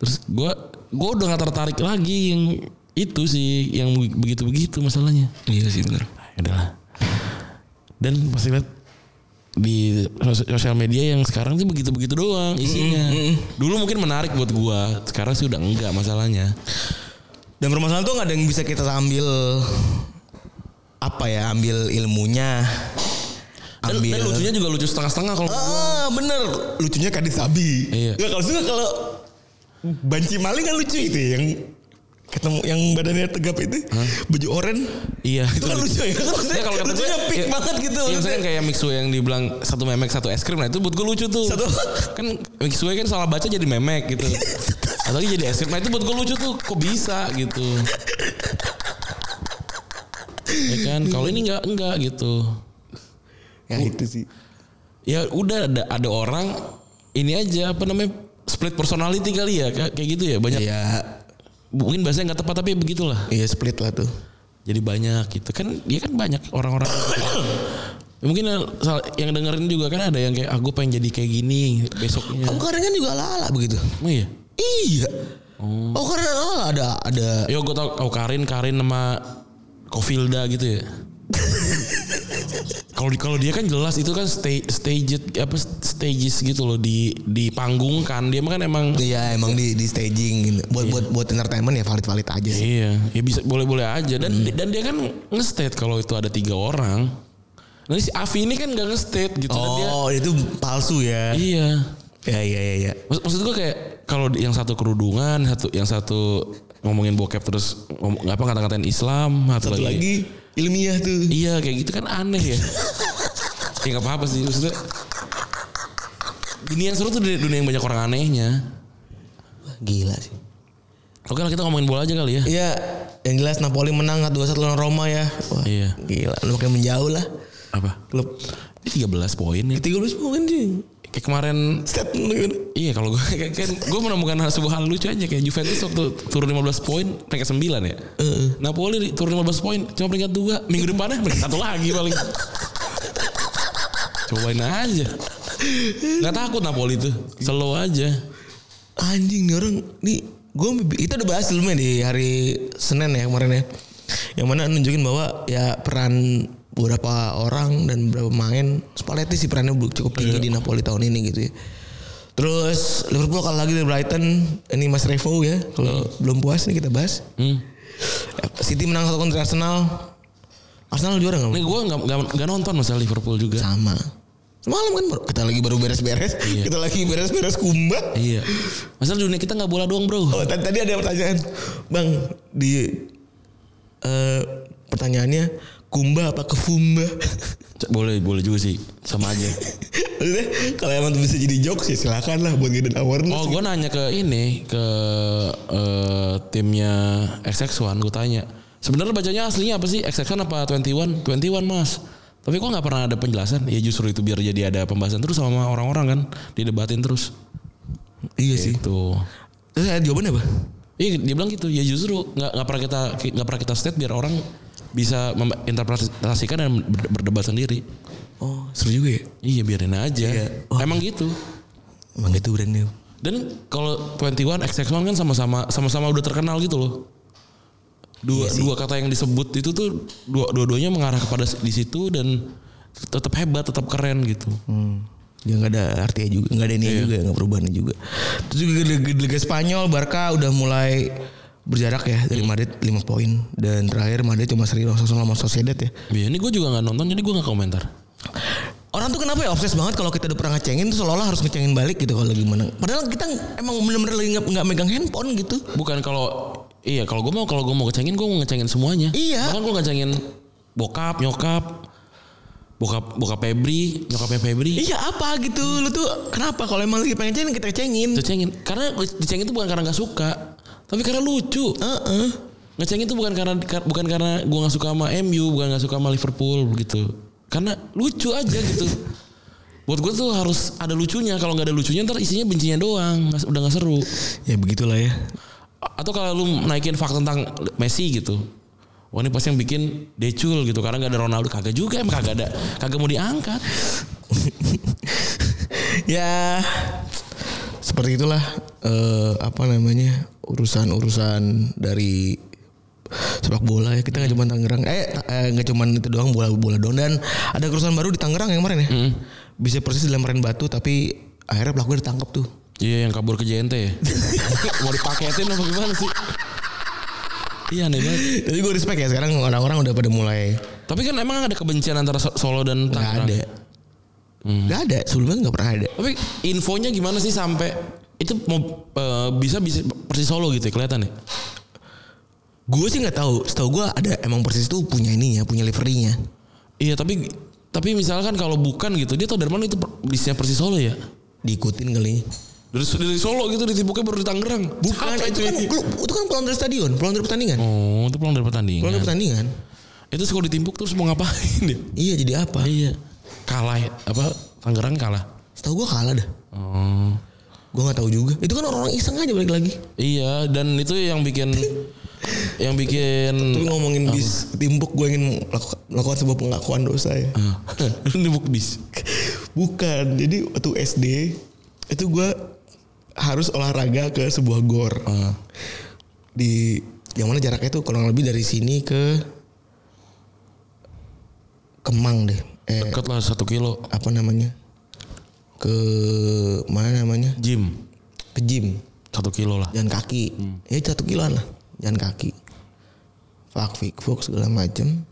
Speaker 2: terus gua gua udah gak tertarik lagi yang itu sih yang begitu begitu masalahnya
Speaker 3: iya sih benar
Speaker 2: Nah, ya udahlah dan pasti lihat di sos- sosial media yang sekarang sih begitu begitu doang isinya dulu mungkin menarik buat gua sekarang sih udah enggak masalahnya
Speaker 3: Dan permasalahan tuh nggak ada yang bisa kita ambil apa ya ambil ilmunya
Speaker 2: dan,
Speaker 3: ambil
Speaker 2: dan lucunya juga lucu setengah setengah kalau
Speaker 3: ah bener lucunya kadit sabi
Speaker 2: Iya.
Speaker 3: Nggak, kalau suka kalau banci maling kan lucu itu ya, yang ketemu yang badannya tegap itu baju oren
Speaker 2: iya
Speaker 3: itu kan lucu ya kan
Speaker 2: Ya, kalau kata gue,
Speaker 3: lucunya pink
Speaker 2: ya-
Speaker 3: banget gitu
Speaker 2: Iya misalnya kayak mixue yang dibilang satu memek satu es krim nah itu buat gue lucu tuh.
Speaker 3: Satu-
Speaker 2: kan mixue kan salah baca jadi memek gitu. Atau lagi jadi es krim nah itu buat gue lucu tuh kok bisa gitu. ya kan kalau ini enggak enggak gitu.
Speaker 3: ya itu sih
Speaker 2: Ya udah ada ada orang ini aja apa namanya split personality kali ya kayak kayak gitu ya banyak
Speaker 3: ya
Speaker 2: mungkin bahasanya nggak tepat tapi ya begitulah
Speaker 3: ya split iya, lah tuh
Speaker 2: jadi banyak gitu kan dia kan banyak orang-orang Ya mungkin yang- sal- yang dengerin juga kan ada yang kayak ah gue pengen jadi kayak gini besoknya.
Speaker 3: Kamu kadang kan juga lala begitu.
Speaker 2: Emang iya.
Speaker 3: Iya. Oh, karena lala ada ada
Speaker 2: Yo gue tau oh, Karin Karin sama Kofilda gitu ya. Kalau di- kalau dia kan jelas itu kan stage staged apa stages gitu loh di dipanggungkan dia mah kan emang
Speaker 3: Iya emang di di staging gitu. Buat buat buat entertainment ya valid valid aja sih.
Speaker 2: Iya, ya bisa boleh-boleh aja dan dan dia kan nge-state kalau itu ada tiga orang. Nanti si Avi ini kan gak nge-state gitu dan dia
Speaker 3: Oh itu palsu ya.
Speaker 2: iya.
Speaker 3: Ya ya ya ya.
Speaker 2: Maksud, maksud gue kayak kalau di- yang satu kerudungan, satu yang satu ngomongin bokep terus ngomong apa kata-katain Islam, satu, lagi.
Speaker 3: Satu lagi ilmiah tuh.
Speaker 2: Iya, kayak gitu kan aneh ya. ya gak apa-apa sih maksudnya. Dunia yang seru tuh dari dunia yang banyak orang anehnya.
Speaker 3: Gila sih.
Speaker 2: Oke lah kita ngomongin bola aja kali ya.
Speaker 3: Iya, yang jelas Napoli menang 2-1 lawan Roma ya. Wah,
Speaker 2: Iya.
Speaker 3: Gila, lu makin menjauh lah.
Speaker 2: Apa?
Speaker 3: Klub
Speaker 2: Dia 13 poin ya.
Speaker 3: 13 poin sih. gitu.
Speaker 2: Kayak kemarin
Speaker 3: Statement lu gimana?
Speaker 2: Iya kalau gue kan gue menemukan hal- sebuah hal lucu aja kayak Juventus waktu turun 15 poin peringkat 9 ya. Napoli di- turun 15 poin cuma peringkat 2. Minggu depannya peringkat satu lagi paling. Cobain aja. Gak takut Napoli tuh. Slow aja.
Speaker 3: Anjing nih orang nih gue kita udah bahas sebelumnya di hari Senin ya kemarin ya. Yang mana nunjukin bahwa ya peran beberapa orang dan beberapa pemain Spalletti sih perannya cukup tinggi di Napoli tahun ini gitu ya. Terus Liverpool kalau lagi dari Brighton ini Mas Revo ya kalau belum puas nih kita bahas.
Speaker 2: Hmm.
Speaker 3: City menang satu kontra Arsenal. Arsenal juara nggak?
Speaker 2: Ini gue gak, gak, gak nonton masalah Liverpool juga.
Speaker 3: Sama. Semalam kan baru- kita lagi baru beres-beres, kita lagi beres-beres kumbah.
Speaker 2: Iya. Masalah dunia kita gak bola doang bro.
Speaker 3: Oh, tadi, tadi ada pertanyaan, Bang, di eh, pertanyaannya kumba apa kefumba?
Speaker 2: C- Boleh boleh juga sih. Sama aja.
Speaker 3: Maksudnya kalau emang bisa jadi jokes ya silakan lah buat gede awareness.
Speaker 2: Oh gue nanya ke ini ke eh, timnya XX1 gue tanya. Sebenarnya bacanya aslinya apa sih XX1 apa 21? 21 mas. Tapi kok nggak pernah ada penjelasan. Ya justru itu biar jadi ada pembahasan terus sama orang-orang kan didebatin terus.
Speaker 3: iya sih.
Speaker 2: Gitu.
Speaker 3: Terus ada jawabannya apa?
Speaker 2: Iya dia bilang gitu. Ya justru nggak nggak pernah kita nggak pernah kita state biar orang bisa menginterpretasikan dan ber- berdebat sendiri.
Speaker 3: Oh, seru juga ya.
Speaker 2: Iya biarin aja.
Speaker 3: Iya. Wah.
Speaker 2: Emang gitu.
Speaker 3: Emang gitu brandnya.
Speaker 2: Dan kalau 21 XX1 kan sama-sama sama-sama udah terkenal gitu loh. Dua
Speaker 3: Iya
Speaker 2: dua kata yang disebut itu tuh dua dua-duanya mengarah kepada di situ dan tetap hebat, tetap keren gitu.
Speaker 3: Hmm. Iya. Ya nggak ada artinya juga, nggak ada ini juga, nggak perubahannya juga. Terus juga di Liga- di Liga Spanyol, Barca udah mulai berjarak ya dari Madrid 5 poin dan terakhir Madrid cuma seri langsung sama Sociedad ya.
Speaker 2: Ya, ini gue juga nggak nonton jadi gue nggak komentar.
Speaker 3: Orang tuh kenapa ya obses banget kalau kita udah pernah ngecengin tuh seolah-olah harus ngecengin balik gitu kalau gimana. Padahal kita emang bener-bener lagi nggak- nggak megang handphone gitu.
Speaker 2: Bukan kalau iya kalau gue mau kalau gue mau ngecengin gue mau ngecengin semuanya.
Speaker 3: Iya.
Speaker 2: Bahkan gue ngecengin bokap, nyokap, bokap bokap Febri, nyokapnya Febri.
Speaker 3: Iya apa gitu lu tuh kenapa kalau emang lagi pengen cengin kita cengin.
Speaker 2: Dicengin karena dicengin itu bukan karena nggak suka, tapi karena lucu.
Speaker 3: Heeh.
Speaker 2: Ngecengin itu bukan karena kar- bukan karena gue nggak suka sama MU, bukan nggak suka sama Liverpool gitu. Karena lucu aja gitu. Buat gue tuh harus ada lucunya. Kalau nggak ada lucunya ntar isinya bencinya doang. Nggak- Udah nggak seru.
Speaker 3: Ya begitulah ya.
Speaker 2: A- Atau kalau lu naikin fakta tentang Messi gitu. Wah ini pasti yang bikin decul gitu karena nggak ada Ronaldo kagak juga emang kagak ada kagak mau diangkat.
Speaker 3: ya seperti itulah eh, apa namanya urusan-urusan dari sepak bola ya kita nggak cuma Tangerang eh ta- eh, nggak cuma itu doang bola bola doang dan ada kerusuhan baru di Tangerang yang kemarin ya bisa persis dilemparin batu tapi akhirnya pelakunya ditangkap tuh
Speaker 2: Iya yang kabur ke JNT ya. mau dipaketin apa gimana sih? Iya aneh banget.
Speaker 3: jadi gue respect ya sekarang orang-orang udah pada mulai
Speaker 2: Tapi kan emang ada kebencian antara So- Solo dan
Speaker 3: nggak
Speaker 2: Tangerang.
Speaker 3: ada nggak ada sebelumnya nggak pernah ada
Speaker 2: Tapi infonya gimana sih sampai itu mau eh, bisa bisa persis Solo gitu ya kelihatan ya?
Speaker 3: gue sih nggak tahu setahu gue ada emang persis tuh punya ininya punya liverynya
Speaker 2: Iya tapi tapi misalkan kalau bukan gitu dia tahu dari mana itu per- bisnya persis Solo ya?
Speaker 3: diikutin kali
Speaker 2: Dari, dari Solo gitu ditibuknya baru di Tangerang.
Speaker 3: Bukan
Speaker 2: Capek,
Speaker 3: itu
Speaker 2: cuy.
Speaker 3: kan itu kan pulang dari stadion, pulang dari pertandingan.
Speaker 2: Oh itu pulang dari
Speaker 3: Pulang dari
Speaker 2: pertandingan.
Speaker 3: pertandingan.
Speaker 2: Itu kalau ditimpuk terus mau ngapain dia?
Speaker 3: Iya jadi apa?
Speaker 2: Iya. Kalah ya? apa Tangerang kalah?
Speaker 3: Setahu gua kalah dah.
Speaker 2: Oh.
Speaker 3: Hmm. Gua nggak tahu juga. Itu kan orang-orang iseng aja balik lagi.
Speaker 2: Iya dan itu yang bikin yang bikin
Speaker 3: Tapi ngomongin bis timbuk gue ingin melaku- melakukan sebuah pengakuan dosa ya.
Speaker 2: ini book bis.
Speaker 3: Bukan. Jadi waktu SD itu gue harus olahraga ke sebuah gor. Di yang mana jaraknya tuh kurang lebih dari sini ke Kemang deh. Eh,
Speaker 2: Dekat lah satu kilo
Speaker 3: apa namanya? Ke mana namanya?
Speaker 2: gym
Speaker 3: Ke gym.
Speaker 2: satu kilo lah.
Speaker 3: Jalan kaki. Ya satu kiloan lah. Jalan kaki. Flak fik fuk, segala macem.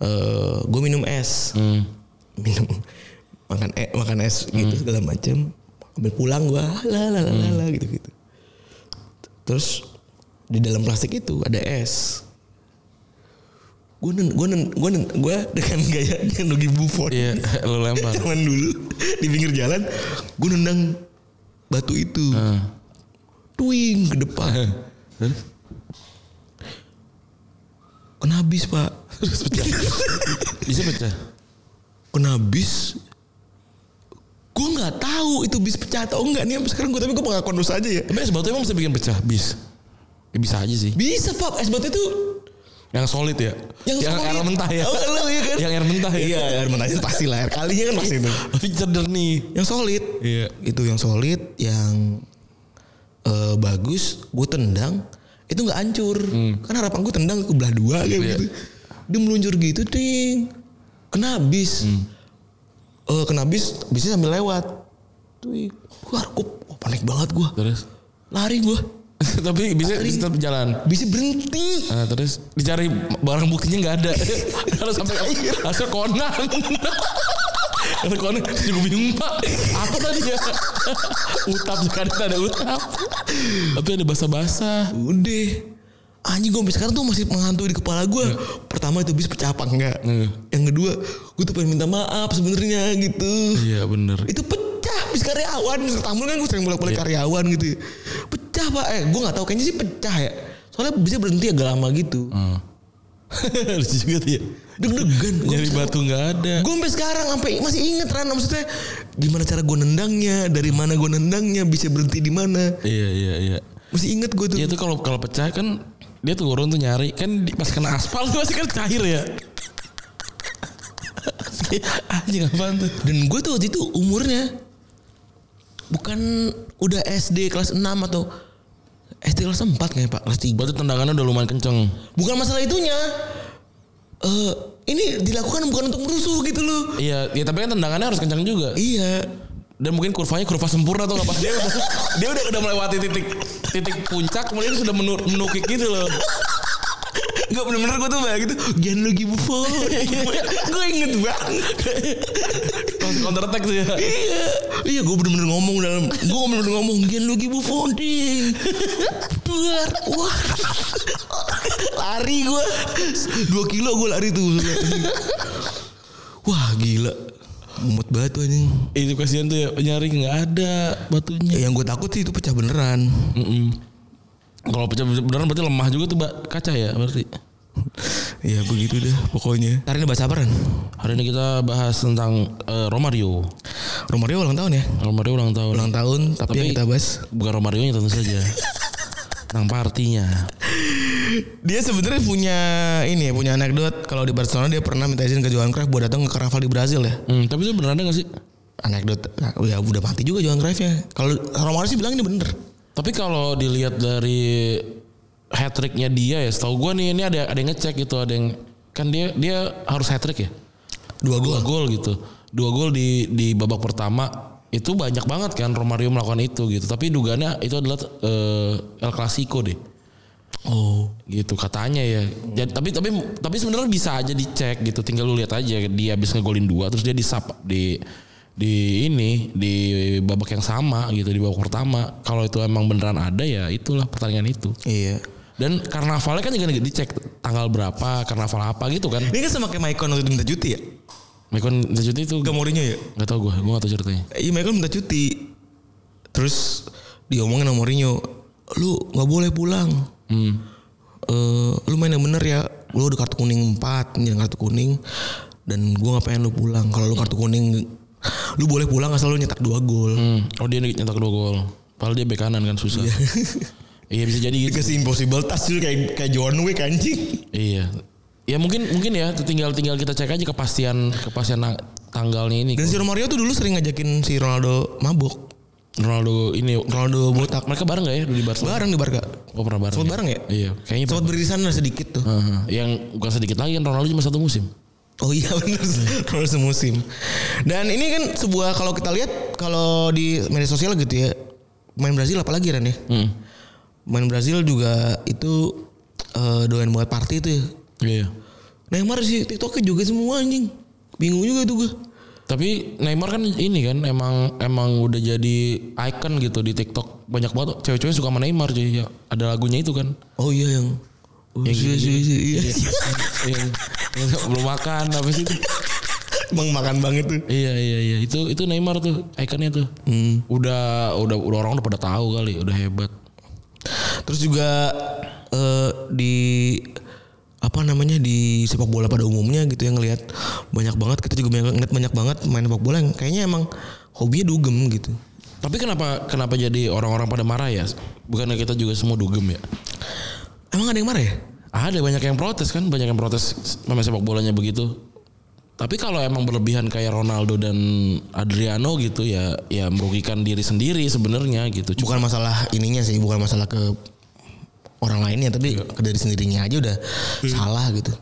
Speaker 3: Eh, gue minum es.
Speaker 2: Hmm.
Speaker 3: minum makan eh makan es gitu segala macem ambil pulang gua "Ah, la la la la, la, gitu gitu terus di dalam plastik itu ada es gue nen gue nen gue nen gue dengan gaya Nugi Buffon
Speaker 2: Iya, lu lempar.
Speaker 3: zaman dulu di pinggir jalan gue nendang batu itu tuing ke depan kena habis pak
Speaker 2: Bisa pecah.
Speaker 3: kena bis gue nggak tahu itu bis pecah atau enggak nih sampai sekarang gue tapi gue pengakuan dosa aja ya
Speaker 2: Tapi es batu emang bisa bikin pecah bis. Ya, bisa aja sih.
Speaker 3: bisa pak es batu tuh
Speaker 2: Yang solid ya. Yang,
Speaker 3: solid.
Speaker 2: air mentah ya.
Speaker 3: oh, lu, iya kan
Speaker 2: Yang air mentah ya.
Speaker 3: iya air mentah itu pasti lah air kalinya kan pasti itu
Speaker 2: Tapi nih.
Speaker 3: yang solid
Speaker 2: Iya.
Speaker 3: itu yang solid yang eh, bagus gue tendang itu nggak hancur kan harapan gue tendang ke belah dua kayak
Speaker 2: Hmm. Iya.
Speaker 3: gitu dia meluncur gitu ting kena bis
Speaker 2: Hmm.
Speaker 3: Eh, kena bis bisnya sambil lewat tuh gue panik banget gue
Speaker 2: Terus.
Speaker 3: lari gue
Speaker 2: Tapi bisa bisa tetap jalan.
Speaker 3: bisa berhenti
Speaker 2: Nah, terus dicari barang buktinya nggak ada. Harus sampai
Speaker 3: Cair.
Speaker 2: hasil konan. Kata konan juga bingung pak. Apa tadi ya? utap sekarang ada utap. Tapi ada basa-basa.
Speaker 3: udah anjing gue sampai sekarang tuh masih menghantui di kepala gue pertama itu bis pecah apa enggak
Speaker 2: Iya.
Speaker 3: yang kedua gue tuh pengen minta maaf sebenarnya gitu
Speaker 2: Iya bener.
Speaker 3: itu pecah bis karyawan tamu kan gue sering bolak
Speaker 2: Iya.
Speaker 3: balik karyawan gitu ya. pecah pak eh gue nggak tahu kayaknya sih pecah ya soalnya bisa berhenti agak lama gitu
Speaker 2: Hmm. Lucu juga tuh ya.
Speaker 3: deg-degan Gua
Speaker 2: Nyari
Speaker 3: sampai-
Speaker 2: batu nggak ada.
Speaker 3: gue sampai sekarang sampai masih inget Ran maksudnya gimana cara gue nendangnya dari mana gue nendangnya bisa berhenti di mana
Speaker 2: Iya iya iya.
Speaker 3: masih inget gue tuh
Speaker 2: Iya tuh kalau kalau pecah kan dia tuh turun tuh nyari kan di- pas kena aspal tuh masih kan cair ya. Anjing apaan tuh?
Speaker 3: dan gue tuh waktu itu umurnya bukan udah SD kelas 6 atau SD kelas 4 kayaknya pak kelas 3
Speaker 2: Berarti tendangannya udah lumayan kenceng.
Speaker 3: bukan masalah itunya eh ini dilakukan bukan untuk merusuh gitu loh
Speaker 2: Iya, ya tapi kan tendangannya harus kencang juga.
Speaker 3: iya
Speaker 2: Dan mungkin kurvanya kurva sempurna tuh nggak pas dia udah dia udah udah melewati titik titik puncak kemudian sudah menu- menukik gitu loh.
Speaker 3: Enggak bener-bener gue tuh kayak gitu Gianluigi Buffon Gue inget banget
Speaker 2: Terus counter attack tuh ya.
Speaker 3: Iya Iya gue bener-bener ngomong dalam Gue bener-bener ngomong Gianluigi Buffon ding Buar Wah Lari gue Dua kilo gue lari tuh Wah gila Mumet banget tuh anjing Eh,
Speaker 2: Itu kasihan tuh ya nyari nggak ada batunya.
Speaker 3: Yang gue takut sih itu pecah beneran
Speaker 2: Mm-mm. Kalau pecah beneran berarti lemah juga tuh Mbak. kaca ya berarti.
Speaker 3: Ya begitu dah pokoknya Hari ini bahas apa Ren?
Speaker 2: Hari ini kita bahas tentang eh, Romario.
Speaker 3: Romario ulang tahun ya?
Speaker 2: Romario ulang tahun.
Speaker 3: Ulang tahun tapi, yang kita bahas
Speaker 2: Bukan Romario tentu saja. tentang partinya.
Speaker 3: Dia sebenarnya punya ini ya, punya anekdot kalau di Barcelona dia pernah minta izin ke Johan Cruyff buat datang ke karnaval di Brazil ya.
Speaker 2: Hmm, tapi itu beneran ada gak sih?
Speaker 3: Anekdot ya udah mati juga Johan Cruyff ya. Kalau Romario sih bilang ini bener.
Speaker 2: Tapi kalau dilihat dari hat tricknya dia ya, setahu gue nih ini ada ada yang ngecek gitu, ada yang kan dia dia harus hat trick ya,
Speaker 3: Dua
Speaker 2: dua
Speaker 3: gol.
Speaker 2: gol gitu, dua gol di di babak pertama itu banyak banget kan Romario melakukan itu gitu. Tapi dugaannya itu adalah eh, El Clasico deh
Speaker 3: Oh.
Speaker 2: gitu katanya ya. Jadi, tapi tapi tapi sebenarnya bisa aja dicek gitu. Tinggal lu lihat aja dia habis ngegolin dua terus dia disap di di ini di babak yang sama gitu di babak pertama. Kalau itu emang beneran ada ya itulah pertandingan itu.
Speaker 3: Iya.
Speaker 2: Dan karnavalnya kan juga dicek tanggal berapa, karnaval apa gitu kan.
Speaker 3: Ini kan sama kayak Maicon waktu itu minta cuti ya?
Speaker 2: Mekon cuti itu
Speaker 3: Ke Mourinho ya?
Speaker 2: nggak tau gue, gue gak tau ceritanya.
Speaker 3: Iya Maicon minta cuti. Terus diomongin sama Mourinho, lu nggak boleh pulang.
Speaker 2: Hmm.
Speaker 3: Eh, lu main yang bener ya. Lu udah kartu kuning 4, yang kartu kuning dan gua nggak pengen lu pulang. Kalau lu kartu kuning lu boleh pulang asal lu nyetak dua gol.
Speaker 2: Hmm. Oh dia nyetak dua gol. Padahal dia bek kanan kan susah. Iya Iya bisa jadi gitu.
Speaker 3: Dikasih impossible task dulu kayak kayak John Wick anjing.
Speaker 2: Iya. Ya mungkin mungkin ya tinggal tinggal kita cek aja kepastian kepastian na- tanggalnya ini.
Speaker 3: Dan si Romario tuh dulu sering ngajakin si Ronaldo mabuk.
Speaker 2: Ronaldo ini
Speaker 3: Ronaldo botak.
Speaker 2: mereka bareng gak ya dulu di Barcelona?
Speaker 3: Bareng di Barca.
Speaker 2: Oh pernah bareng.
Speaker 3: Sempat bareng ya?
Speaker 2: Iya, kayaknya.
Speaker 3: Sempat beririsan lah sedikit tuh.
Speaker 2: Heeh. Yang bukan sedikit lagi kan Ronaldo cuma satu musim.
Speaker 3: Oh iya benar. Ronaldo semusim. Dan ini kan sebuah kalau kita lihat kalau di media sosial gitu ya. Main Brazil apalagi Ran ya?
Speaker 2: Heeh.
Speaker 3: Main Brazil juga itu eh, doyan banget party tuh ya.
Speaker 2: Iya.
Speaker 3: Neymar sih TikToknya juga semua anjing. Bingung juga tuh gue.
Speaker 2: Tapi Neymar kan ini kan emang emang udah jadi icon gitu di TikTok. Banyak banget cewek-cewek suka sama Neymar cuy. Ya, Ada lagunya itu kan.
Speaker 3: Oh iya yang Oh,
Speaker 2: Yang gini.
Speaker 3: iya, iya, iya, iya.
Speaker 2: Yang- yang belum makan apa sih itu?
Speaker 3: Bang makan banget tuh.
Speaker 2: Iya iya iya itu itu Neymar tuh ikonnya tuh. Udah udah udah orang udah pada tahu kali, udah hebat.
Speaker 3: Terus juga eh, di apa namanya di sepak bola pada umumnya gitu yang ngelihat banyak banget kita juga banyak ngeliat banyak banget main sepak bola yang kayaknya emang hobinya dugem gitu.
Speaker 2: Tapi kenapa kenapa jadi orang-orang pada marah ya? Bukannya kita juga semua dugem ya? Ah,
Speaker 3: Emang ada yang marah ya?
Speaker 2: Ada banyak yang protes kan, banyak yang protes pemain sepak bolanya begitu. Tapi kalau emang berlebihan kayak Ronaldo dan Adriano gitu ya, ya merugikan diri sendiri sebenarnya gitu. Cuma
Speaker 3: Bukan masalah ininya sih, bukan masalah ke orang lainnya tapi ke dari sendirinya aja udah salah gitu.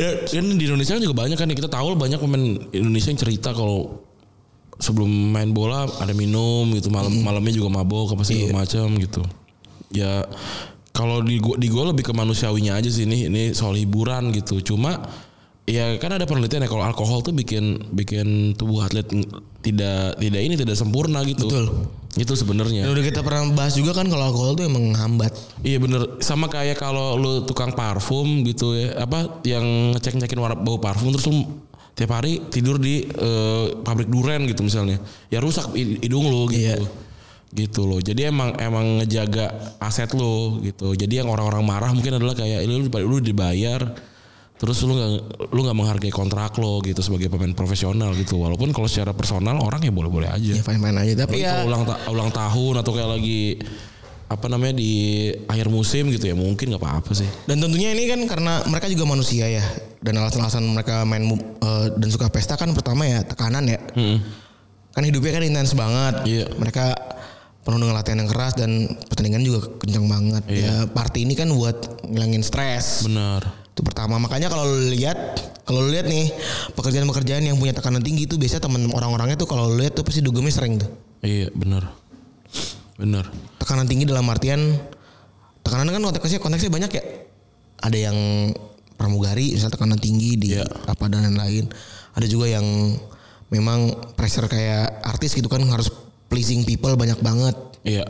Speaker 2: Ya, kan di Indonesia kan juga banyak kan ya kita tahu lah banyak pemain Indonesia yang cerita kalau sebelum main bola ada minum gitu malam malamnya juga mabok apa segala macam gitu. Ya kalau di gua, di gua lebih ke manusiawinya aja sih ini ini soal hiburan gitu. Cuma ya kan ada penelitian ya kalau alkohol tuh bikin bikin tubuh atlet n- tidak tidak ini tidak sempurna gitu.
Speaker 3: Betul.
Speaker 2: Itu sebenarnya.
Speaker 3: Dan udah kita pernah bahas juga kan kalau alkohol tuh emang menghambat.
Speaker 2: Iya bener Sama kayak kalau lu tukang parfum gitu ya Apa yang ngecek-ngecekin warna bau parfum Terus lu tiap hari tidur di eh, pabrik duren gitu misalnya Ya rusak hid- hidung lu gitu
Speaker 3: Iya.
Speaker 2: Gitu loh Jadi emang emang ngejaga aset lu gitu Jadi yang orang-orang marah mungkin adalah kayak Lu, lu dibayar Terus lu gak, lu gak menghargai kontrak lo gitu sebagai pemain profesional gitu Walaupun kalau secara personal orang ya boleh-boleh aja
Speaker 3: Ya fine fine aja tapi
Speaker 2: kalau
Speaker 3: ya
Speaker 2: ulang ta- ulang tahun atau kayak lagi apa namanya di akhir musim gitu ya mungkin nggak apa-apa sih.
Speaker 3: Dan tentunya ini kan karena mereka juga manusia ya. Dan alasan-alasan mereka main mu- eh, dan suka pesta kan pertama ya tekanan ya. Kan hidupnya kan intens banget.
Speaker 2: Iya.
Speaker 3: Mereka penuh dengan latihan yang keras dan pertandingan juga kencang banget. Ya party ini kan buat ngilangin stres.
Speaker 2: Benar.
Speaker 3: Itu pertama. Makanya kalau lu lihat kalau lu lihat nih pekerjaan-pekerjaan yang punya tekanan tinggi itu biasanya teman orang-orangnya tuh kalau lu lihat tuh pasti dugemnya sering tuh.
Speaker 2: Iya benar. Benar.
Speaker 3: Tekanan tinggi dalam artian tekanan kan konteksnya konteksnya banyak ya. Ada yang pramugari misalnya tekanan tinggi di
Speaker 2: Iya.
Speaker 3: apa dan lain-lain. Ada juga yang memang pressure kayak artis gitu kan harus pleasing people banyak banget.
Speaker 2: Iya.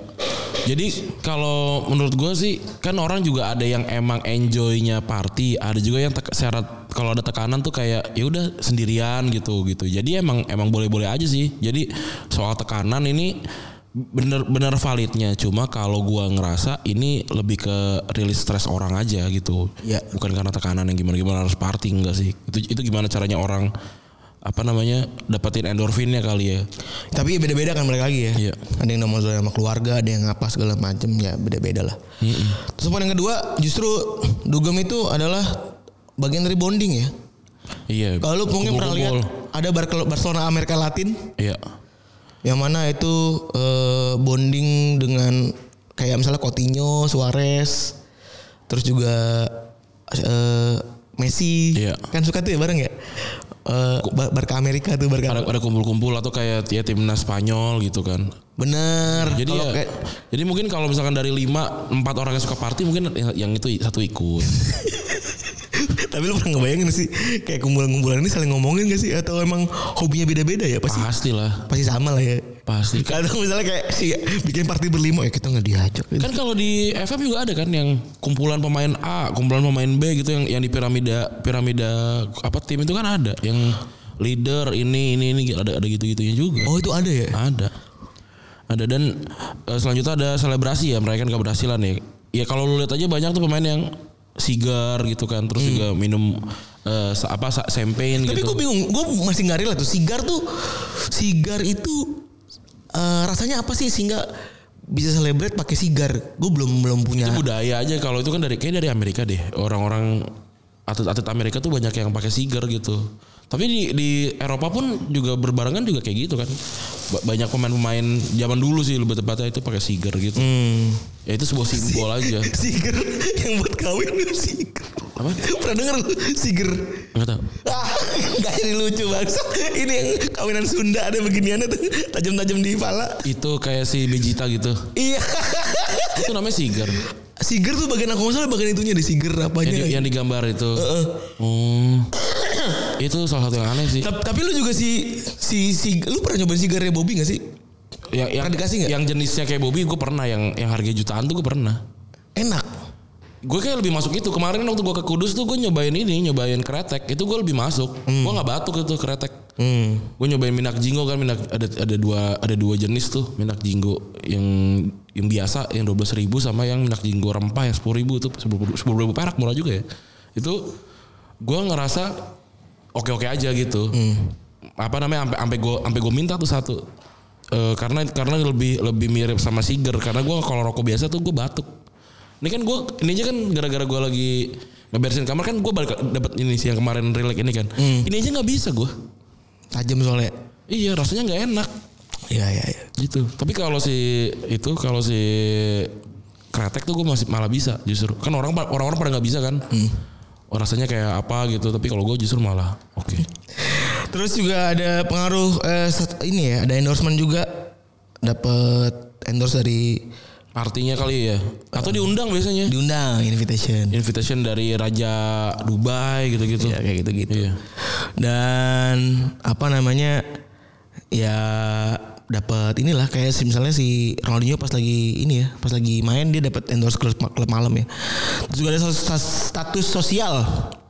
Speaker 2: Jadi kalau menurut gue sih kan orang juga ada yang emang enjoynya party, ada juga yang tek- syarat kalau ada tekanan tuh kayak ya udah sendirian gitu gitu. Jadi emang emang boleh-boleh aja sih. Jadi soal tekanan ini bener-bener validnya. Cuma kalau gua ngerasa ini lebih ke rilis stres orang aja gitu.
Speaker 3: Iya.
Speaker 2: Bukan karena tekanan yang gimana-gimana harus party enggak sih? Itu itu gimana caranya orang apa namanya dapetin endorfinnya kali ya?
Speaker 3: Tapi beda-beda kan mereka lagi ya.
Speaker 2: Iya.
Speaker 3: Ada yang nomor sama keluarga, ada yang apa segala macem ya beda-beda lah. Terus poin yang kedua justru dugem itu adalah bagian dari bonding ya.
Speaker 2: Iya.
Speaker 3: Kalau lu mungkin pernah lihat
Speaker 2: kumpul-kumpul.
Speaker 3: ada Barca- Barcelona Amerika Latin
Speaker 2: Iya.
Speaker 3: yang mana itu eh, bonding dengan kayak misalnya Coutinho, Suarez, terus juga eh, Messi,
Speaker 2: Iya.
Speaker 3: kan suka tuh ya bareng ya, Eh, Bar- Barca Amerika tuh Barca.
Speaker 2: ada ada kumpul-kumpul atau kayak ya timnas Spanyol gitu kan.
Speaker 3: Bener.
Speaker 2: Jadi
Speaker 3: Nah, Kalau
Speaker 2: ya,
Speaker 3: kayak-
Speaker 2: jadi mungkin kalau misalkan dari lima empat orang yang suka party mungkin yang- yang itu satu ikut.
Speaker 3: tapi lu pernah ngebayangin sih kayak kumpulan-kumpulan ini saling ngomongin gak sih atau emang hobinya beda-beda ya pasti
Speaker 2: pasti lah,
Speaker 3: pasti sama lah ya.
Speaker 2: pasti. Kan,
Speaker 3: Kadang misalnya kayak si bikin party berlima ya kita nggak diajak. gitu.
Speaker 2: kan kalau di FM juga ada kan yang kumpulan pemain A, kumpulan pemain B gitu yang yang di piramida piramida apa tim itu kan ada yang leader ini ini ini ada ada gitu-gitunya juga.
Speaker 3: Oh itu ada ya?
Speaker 2: Ada. Ada dan eh, selanjutnya ada selebrasi ya merayakan keberhasilan ya. Ya kalau lu lihat aja banyak tuh pemain yang sigar gitu kan, terus juga minum eh, sa- apa sa- champagne
Speaker 3: Hmm. Tapi
Speaker 2: gitu.
Speaker 3: gue bingung, gue masih nggak relate tuh. Sigar tuh, sigar itu eh, rasanya apa sih sehingga bisa celebrate pakai sigar. Gue belum belum punya.
Speaker 2: budaya aja kalau itu kan dari kayak dari Amerika deh orang-orang atlet-atlet Amerika tuh banyak yang pakai siger gitu tapi di, di Eropa pun juga berbarengan juga kayak gitu kan Ba- banyak pemain-pemain zaman dulu sih lebih tepatnya itu pakai siger gitu
Speaker 3: Hmm.
Speaker 2: ya itu sebuah simbol aja
Speaker 3: Siger yang buat kawin siger.
Speaker 2: Apa?
Speaker 3: Pernah denger lu, siger?
Speaker 2: nggak tahu
Speaker 3: Ah, gak ini lucu banget. Ini yang kawinan Sunda ada beginiannya tuh tajam-tajam di pala.
Speaker 2: itu kayak si Vegeta gitu
Speaker 3: Iya.
Speaker 2: itu namanya siger
Speaker 3: Siger tuh bagian aku masalah bagian itunya deh siger
Speaker 2: yang,
Speaker 3: apanya.
Speaker 2: di- yang digambar itu
Speaker 3: Heeh.
Speaker 2: Hmm. itu salah satu yang aneh sih
Speaker 3: Ta- Tapi lu juga si si si lu pernah nyobain sigarnya Bobby gak sih?
Speaker 2: yang Ya, yang,
Speaker 3: Pernah dikasih nggak?
Speaker 2: yang jenisnya kayak Bobby gue pernah yang yang harga jutaan tuh gue pernah
Speaker 3: Enak.
Speaker 2: Gue kayak lebih masuk itu. Kemarin waktu gue ke Kudus tuh gue nyobain ini, nyobain kretek. Itu gue lebih masuk. Gue nggak batuk itu kretek.
Speaker 3: Hmm.
Speaker 2: Gue nyobain minak jingo kan minak ada ada dua ada dua jenis tuh minak jingo yang yang biasa yang 12.000 sama yang minak jingo rempah yang 10.000 ribu tuh 10.000 10.000 perak murah juga ya. Itu gue ngerasa oke-oke aja gitu. Apa namanya sampai sampai gue sampai gue minta tuh satu. Eh, karena karena lebih lebih mirip sama siger karena gue kalau rokok biasa tuh gue batuk. Ini kan gue ini aja kan gara-gara gue lagi ngebersihin kamar kan gue balik dapat ini sih yang kemarin relax ini kan. Ini aja nggak bisa gue.
Speaker 3: Tajam soalnya.
Speaker 2: Iya rasanya nggak enak
Speaker 3: Iya iya iya.
Speaker 2: gitu. Tapi kalau si itu kalau si kretek tuh gue masih malah bisa justru. Kan orang orang-orang pada nggak bisa kan.
Speaker 3: Hmm.
Speaker 2: Oh, rasanya kayak apa gitu. Tapi kalau gue justru malah oke.
Speaker 3: Terus juga ada pengaruh eh, sat- ini ya, ada endorsement juga dapat endorse dari
Speaker 2: Artinya kali ya. Atau diundang biasanya.
Speaker 3: diundang invitation.
Speaker 2: Invitation dari Raja Dubai gitu-gitu.
Speaker 3: Iya, kayak gitu-gitu.
Speaker 2: Iya.
Speaker 3: Dan apa namanya? Ya dapat inilah kayak si- misalnya si Ronaldinho pas lagi ini ya, pas lagi main dia dapat endorse klub, klub malam ya. Terus juga ada sos- sos- status sosial.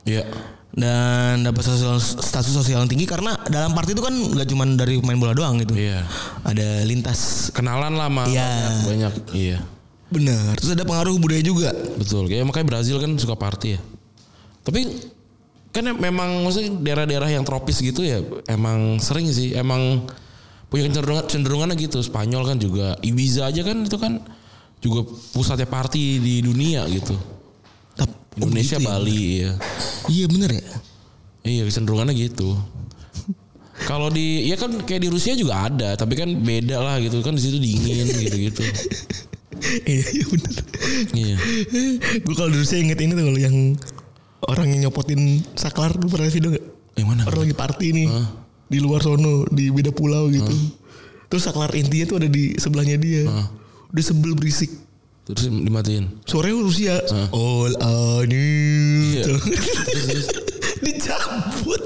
Speaker 2: Iya.
Speaker 3: dan dapat sosial- status sosial yang tinggi karena dalam party itu kan nggak cuma dari main bola doang gitu.
Speaker 2: Iya.
Speaker 3: Ada lintas.
Speaker 2: Kenalan lama.
Speaker 3: Iya.
Speaker 2: Banyak. Iya.
Speaker 3: Benar. Terus ada pengaruh budaya juga.
Speaker 2: Betul, kayak makanya Brazil kan suka party ya. Tapi kan em- memang maksudnya daerah-daerah yang tropis gitu ya emang sering sih, emang punya kecenderungan cenderungannya gitu. Spanyol kan juga, Ibiza aja kan itu kan juga pusatnya party di dunia gitu.
Speaker 3: Tap- oh,
Speaker 2: Indonesia
Speaker 3: gitu ya?
Speaker 2: Bali ya.
Speaker 3: Iya benar ya.
Speaker 2: Iya, kecenderungannya gitu. Kalau di ya kan kayak di Rusia juga ada, tapi kan beda lah gitu kan di situ dingin gitu-gitu.
Speaker 3: Iya iya benar.
Speaker 2: Iya.
Speaker 3: Gue kalau dulu saya inget ini tuh kalau yang orang yang nyopotin saklar lu pernah lihat video gak?
Speaker 2: Yang mana?
Speaker 3: Orang lagi party nih di luar sono di beda pulau gitu. Terus saklar intinya tuh ada di sebelahnya dia. Udah sebel berisik.
Speaker 2: Terus dimatiin.
Speaker 3: Sore Rusia. All I
Speaker 2: Iya.
Speaker 3: need. dicabut,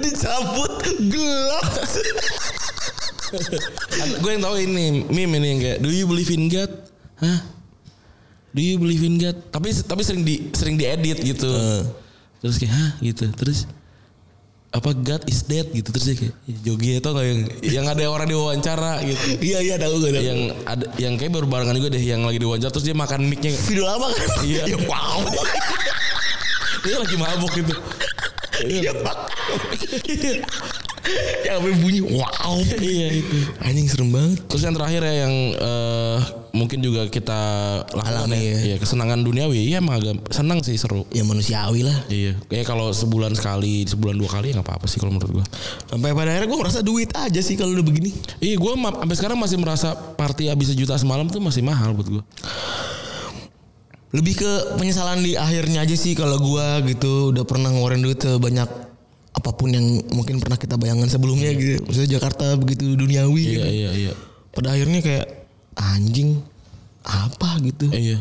Speaker 3: dicabut, gelap.
Speaker 2: Kan gue yang tahu ini meme ini yang kayak do you believe in God? Hah? Do you believe in God? Tapi tapi sering di sering diedit gitu. Terus kayak hah gitu. Terus apa God is dead gitu terus dia kayak "Ih, joget atau nggak yang yang ada orang diwawancara gitu
Speaker 3: Iya iya tahu gue tahu.
Speaker 2: yang ada yang kayak baru barengan juga deh yang lagi diwawancara terus dia makan micnya
Speaker 3: Video lama kan?
Speaker 2: Iya.
Speaker 3: Ya, wow.
Speaker 2: dia lagi mabuk gitu
Speaker 3: Iya pak. Yang sampai bunyi wow.
Speaker 2: iya itu
Speaker 3: Anjing serem banget.
Speaker 2: terus yang terakhir ya yang eh, mungkin juga kita lakukan
Speaker 3: Alami ya.
Speaker 2: Iya, kesenangan duniawi iya emang agak senang sih seru
Speaker 3: Ya manusiawi lah.
Speaker 2: Iya, kayak kalau sebulan sekali, sebulan dua kali ya nggak apa-apa sih kalau menurut gua.
Speaker 3: Sampai pada akhirnya gue merasa duit aja sih kalau udah begini.
Speaker 2: Iya, gua ma- sampai sekarang masih merasa party habis sejuta semalam tuh masih mahal buat gua.
Speaker 3: Lebih ke penyesalan di akhirnya aja sih kalau gua gitu udah pernah ngeluarin duit sebanyak apapun yang mungkin pernah kita bayangkan sebelumnya gitu. Maksudnya Jakarta begitu duniawi gitu.
Speaker 2: Iya, iya, iya.
Speaker 3: pada akhirnya kayak anjing apa gitu.
Speaker 2: Eh, Iya.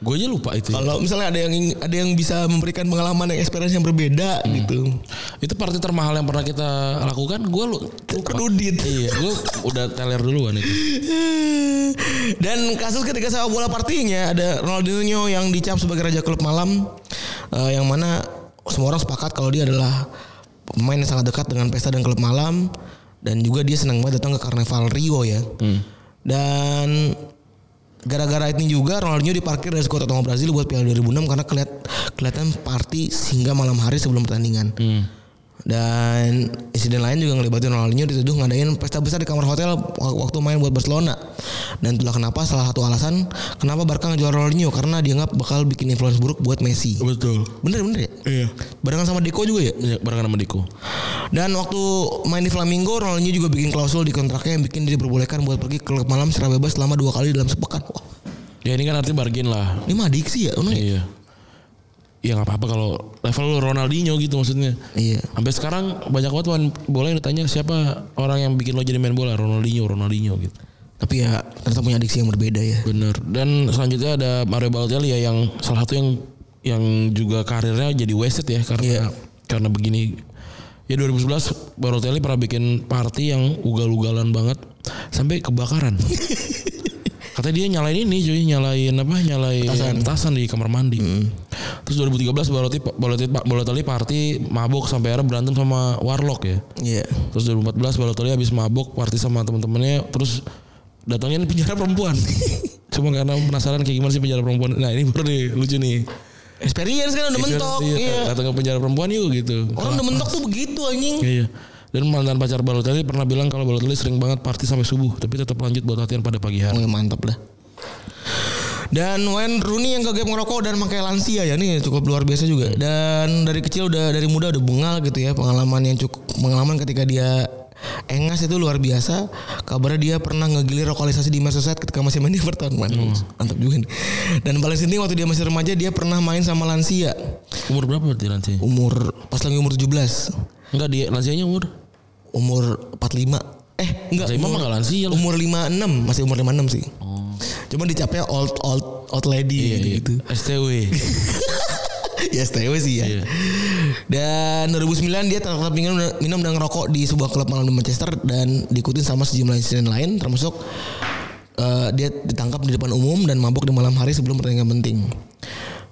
Speaker 2: Gua aja lupa itu. ya.
Speaker 3: Kalau misalnya ada yang ing- ada yang bisa memberikan pengalaman yang experience yang berbeda gitu.
Speaker 2: Itu party termahal yang pernah kita lakukan, gua lu lupa.
Speaker 3: Rudit.
Speaker 2: iya, gua udah teler duluan itu.
Speaker 3: Dan kasus ketika sepak bola partinya ada Ronaldinho yang dicap sebagai raja klub malam eh, yang mana semua orang sepakat kalau dia adalah pemain yang sangat dekat dengan pesta dan klub malam dan juga dia senang banget datang ke Karnaval Rio ya. Dan gara-gara ini juga Ronaldinho diparkir dari skuad utama Brazil buat Piala 2006 karena keliat, kelihatan party hingga malam hari sebelum pertandingan. Dan insiden lain juga ngelibatin Ronaldinho dituduh ngadain pesta besar di kamar hotel wak- waktu main buat Barcelona. Dan itulah kenapa salah satu alasan kenapa Barca ngejual Ronaldinho karena dianggap bakal bikin influence buruk buat Messi.
Speaker 2: Betul.
Speaker 3: Bener bener ya?
Speaker 2: Iya.
Speaker 3: Barengan sama Deco juga ya?
Speaker 2: Iya, barengan sama Diko.
Speaker 3: Dan waktu main di Flamingo, Ronaldinho juga bikin klausul di kontraknya yang bikin dia diperbolehkan buat pergi ke klub malam secara bebas selama dua kali dalam sepekan. Wah,
Speaker 2: Ya ini kan artinya bargain lah.
Speaker 3: ini mah adiksi ya? Bener ya?
Speaker 2: Iya. Ya nggak apa-apa kalau level lu Ronaldinho gitu maksudnya.
Speaker 3: Iya.
Speaker 2: Sampai sekarang banyak banget main bola yang ditanya siapa orang yang bikin lo jadi main bola Ronaldinho, Ronaldinho gitu.
Speaker 3: Tapi ya ternyata punya adiksi yang berbeda ya.
Speaker 2: Bener. Dan selanjutnya ada Mario Balotelli ya yang salah satu yang yang juga karirnya jadi wasted ya karena
Speaker 3: Iya.
Speaker 2: karena begini. Ya 2011 Balotelli pernah bikin party yang ugal-ugalan banget sampai kebakaran. Katanya dia nyalain ini cuy, nyalain apa? Nyalain petasan, Hmm. di kamar mandi. Terus 2013 Balotelli Balotelli, Balotelli party mabuk sampai akhirnya berantem sama Warlock ya.
Speaker 3: Iya.
Speaker 2: Terus 2014 Balotelli habis mabok party sama teman-temannya terus datangnya ini penjara perempuan. Cuma karena penasaran kayak gimana sih penjara perempuan. Nah, ini baru nih lucu nih.
Speaker 3: Experience kan udah mentok.
Speaker 2: Iya,
Speaker 3: Iya.
Speaker 2: Datang ke penjara perempuan yuk gitu.
Speaker 3: Orang udah mentok tuh begitu anjing.
Speaker 2: Iya. iya. Dan mantan pacar Balotelli pernah bilang kalau Balotelli sering banget party sampai subuh, tapi tetap lanjut buat latihan pada pagi hari.
Speaker 3: Wah, mantap dah. Dan Wayne Rooney yang kegep ngerokok dan pakai lansia ya nih cukup luar biasa juga. Dan dari kecil udah dari muda udah bengal gitu ya pengalaman yang cukup pengalaman ketika dia engas itu luar biasa. Kabarnya dia pernah ngegilir lokalisasi di Merseyside ketika masih main di Everton. Waduh, Mantap juga nih. Dan paling penting waktu dia masih remaja dia pernah main sama lansia
Speaker 2: Umur berapa berarti nanti?
Speaker 3: umur pas lagi umur 17.
Speaker 2: Enggak dia lansianya umur.
Speaker 3: Umur 45. Eh, enggak.
Speaker 2: Saya mah ya,
Speaker 3: umur-
Speaker 2: enggak lansia lah.
Speaker 3: umur 56 masih umur 56 sih.
Speaker 2: Oh,
Speaker 3: Cuma dicapnya old old old
Speaker 2: iya,
Speaker 3: lady gitu. gitu.
Speaker 2: STW.
Speaker 3: ya STW sih ya.
Speaker 2: Iya.
Speaker 3: Dan 2009 dia tertangkap minum, minum dan ngerokok di sebuah klub malam di Manchester dan diikutin sama sejumlah insiden lain termasuk eh, dia ditangkap di depan umum dan mabuk di malam hari sebelum pertandingan penting.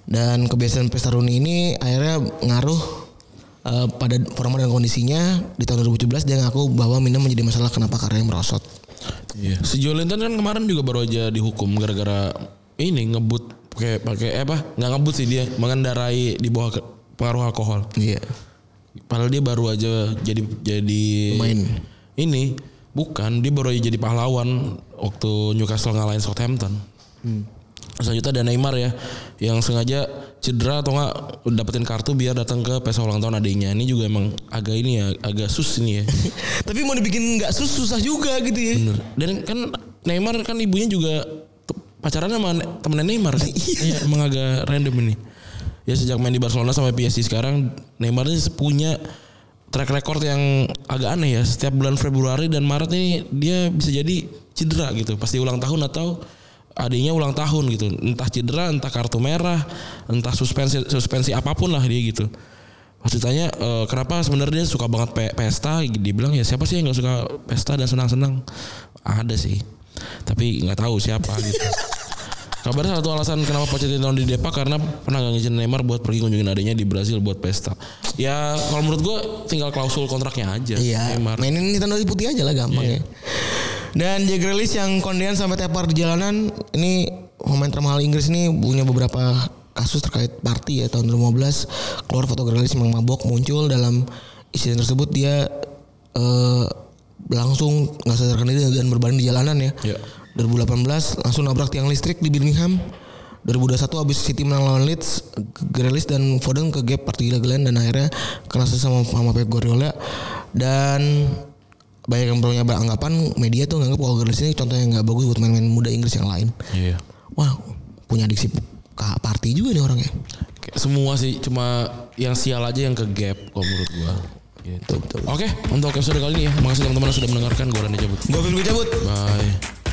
Speaker 3: Dan kebiasaan pesta Rooney ini akhirnya ngaruh eh, pada forma dan kondisinya di tahun 2017 dia ngaku bahwa minum menjadi masalah kenapa karirnya merosot.
Speaker 2: Iya. Si Jolentan kan kemarin juga baru aja dihukum gara-gara ini ngebut pakai pakai eh apa? Nggak ngebut sih dia mengendarai di bawah ke- pengaruh alkohol.
Speaker 3: Iya.
Speaker 2: Padahal dia baru aja jadi jadi
Speaker 3: Pemain.
Speaker 2: ini bukan dia baru aja jadi pahlawan waktu Newcastle ngalahin Southampton.
Speaker 3: Hmm.
Speaker 2: Selanjutnya ada Neymar ya yang sengaja cedera atau enggak dapetin kartu biar datang ke pesta ulang tahun adiknya. Ini juga emang agak ini ya agak sus ini ya.
Speaker 3: Tapi mau dibikin nggak sus susah juga gitu ya.
Speaker 2: Bener. Dan kan Neymar kan ibunya juga te- pacaran sama ne- temennya Neymar. kan? iya, emang agak random ini. Ya sejak main di Barcelona sampai PSG sekarang Neymar ini punya track record yang agak aneh ya. Setiap bulan Februari dan Maret ini dia bisa jadi cedera gitu. Pasti ulang tahun atau adiknya ulang tahun gitu. Entah cedera, entah kartu merah, entah suspensi suspensi apapun lah dia gitu. Pas ditanya eh, kenapa sebenarnya dia suka banget pe- pesta, dia bilang ya siapa sih yang nggak suka pesta dan senang-senang? Ada sih, tapi nggak tahu siapa gitu. Kabar satu alasan kenapa Pochettino di Depak karena pernah nggak ngizinin Neymar buat pergi kunjungin adanya di Brasil buat pesta. Ya kalau menurut gua tinggal klausul kontraknya aja. Iya.
Speaker 3: Iya.
Speaker 2: Neymar.
Speaker 3: Mainin Nintendo putih aja lah gampang ya. Dan Jack Grealish yang kondean sampai tepar di jalanan ini pemain termahal Inggris ini punya beberapa kasus terkait party ya tahun 2015 keluar foto Grealish yang mabok muncul dalam insiden tersebut dia eh, langsung nggak sadarkan diri dan berbaring di jalanan ya.
Speaker 2: Iya.
Speaker 3: 2018 langsung nabrak tiang listrik di Birmingham. 2021 abis City menang lawan Leeds, Grealish dan Foden ke gap party gila-gilaan dan akhirnya kena susah sama, sama Pep Guardiola dan banyak yang punya anggapan media tuh nganggap kalau Grealish ini contoh yang nggak bagus buat main-main muda Inggris yang lain.
Speaker 2: Iya.
Speaker 3: Wah, punya diksi kak party juga nih orangnya.
Speaker 2: Kayak Semua sih cuma yang sial aja yang ke gap kalau menurut gua. Gitu. Oke, untuk episode kali ini ya. Makasih teman-teman yang sudah mendengarkan. Gua Randy cabut.
Speaker 3: Gue Phil cabut.
Speaker 2: Bye.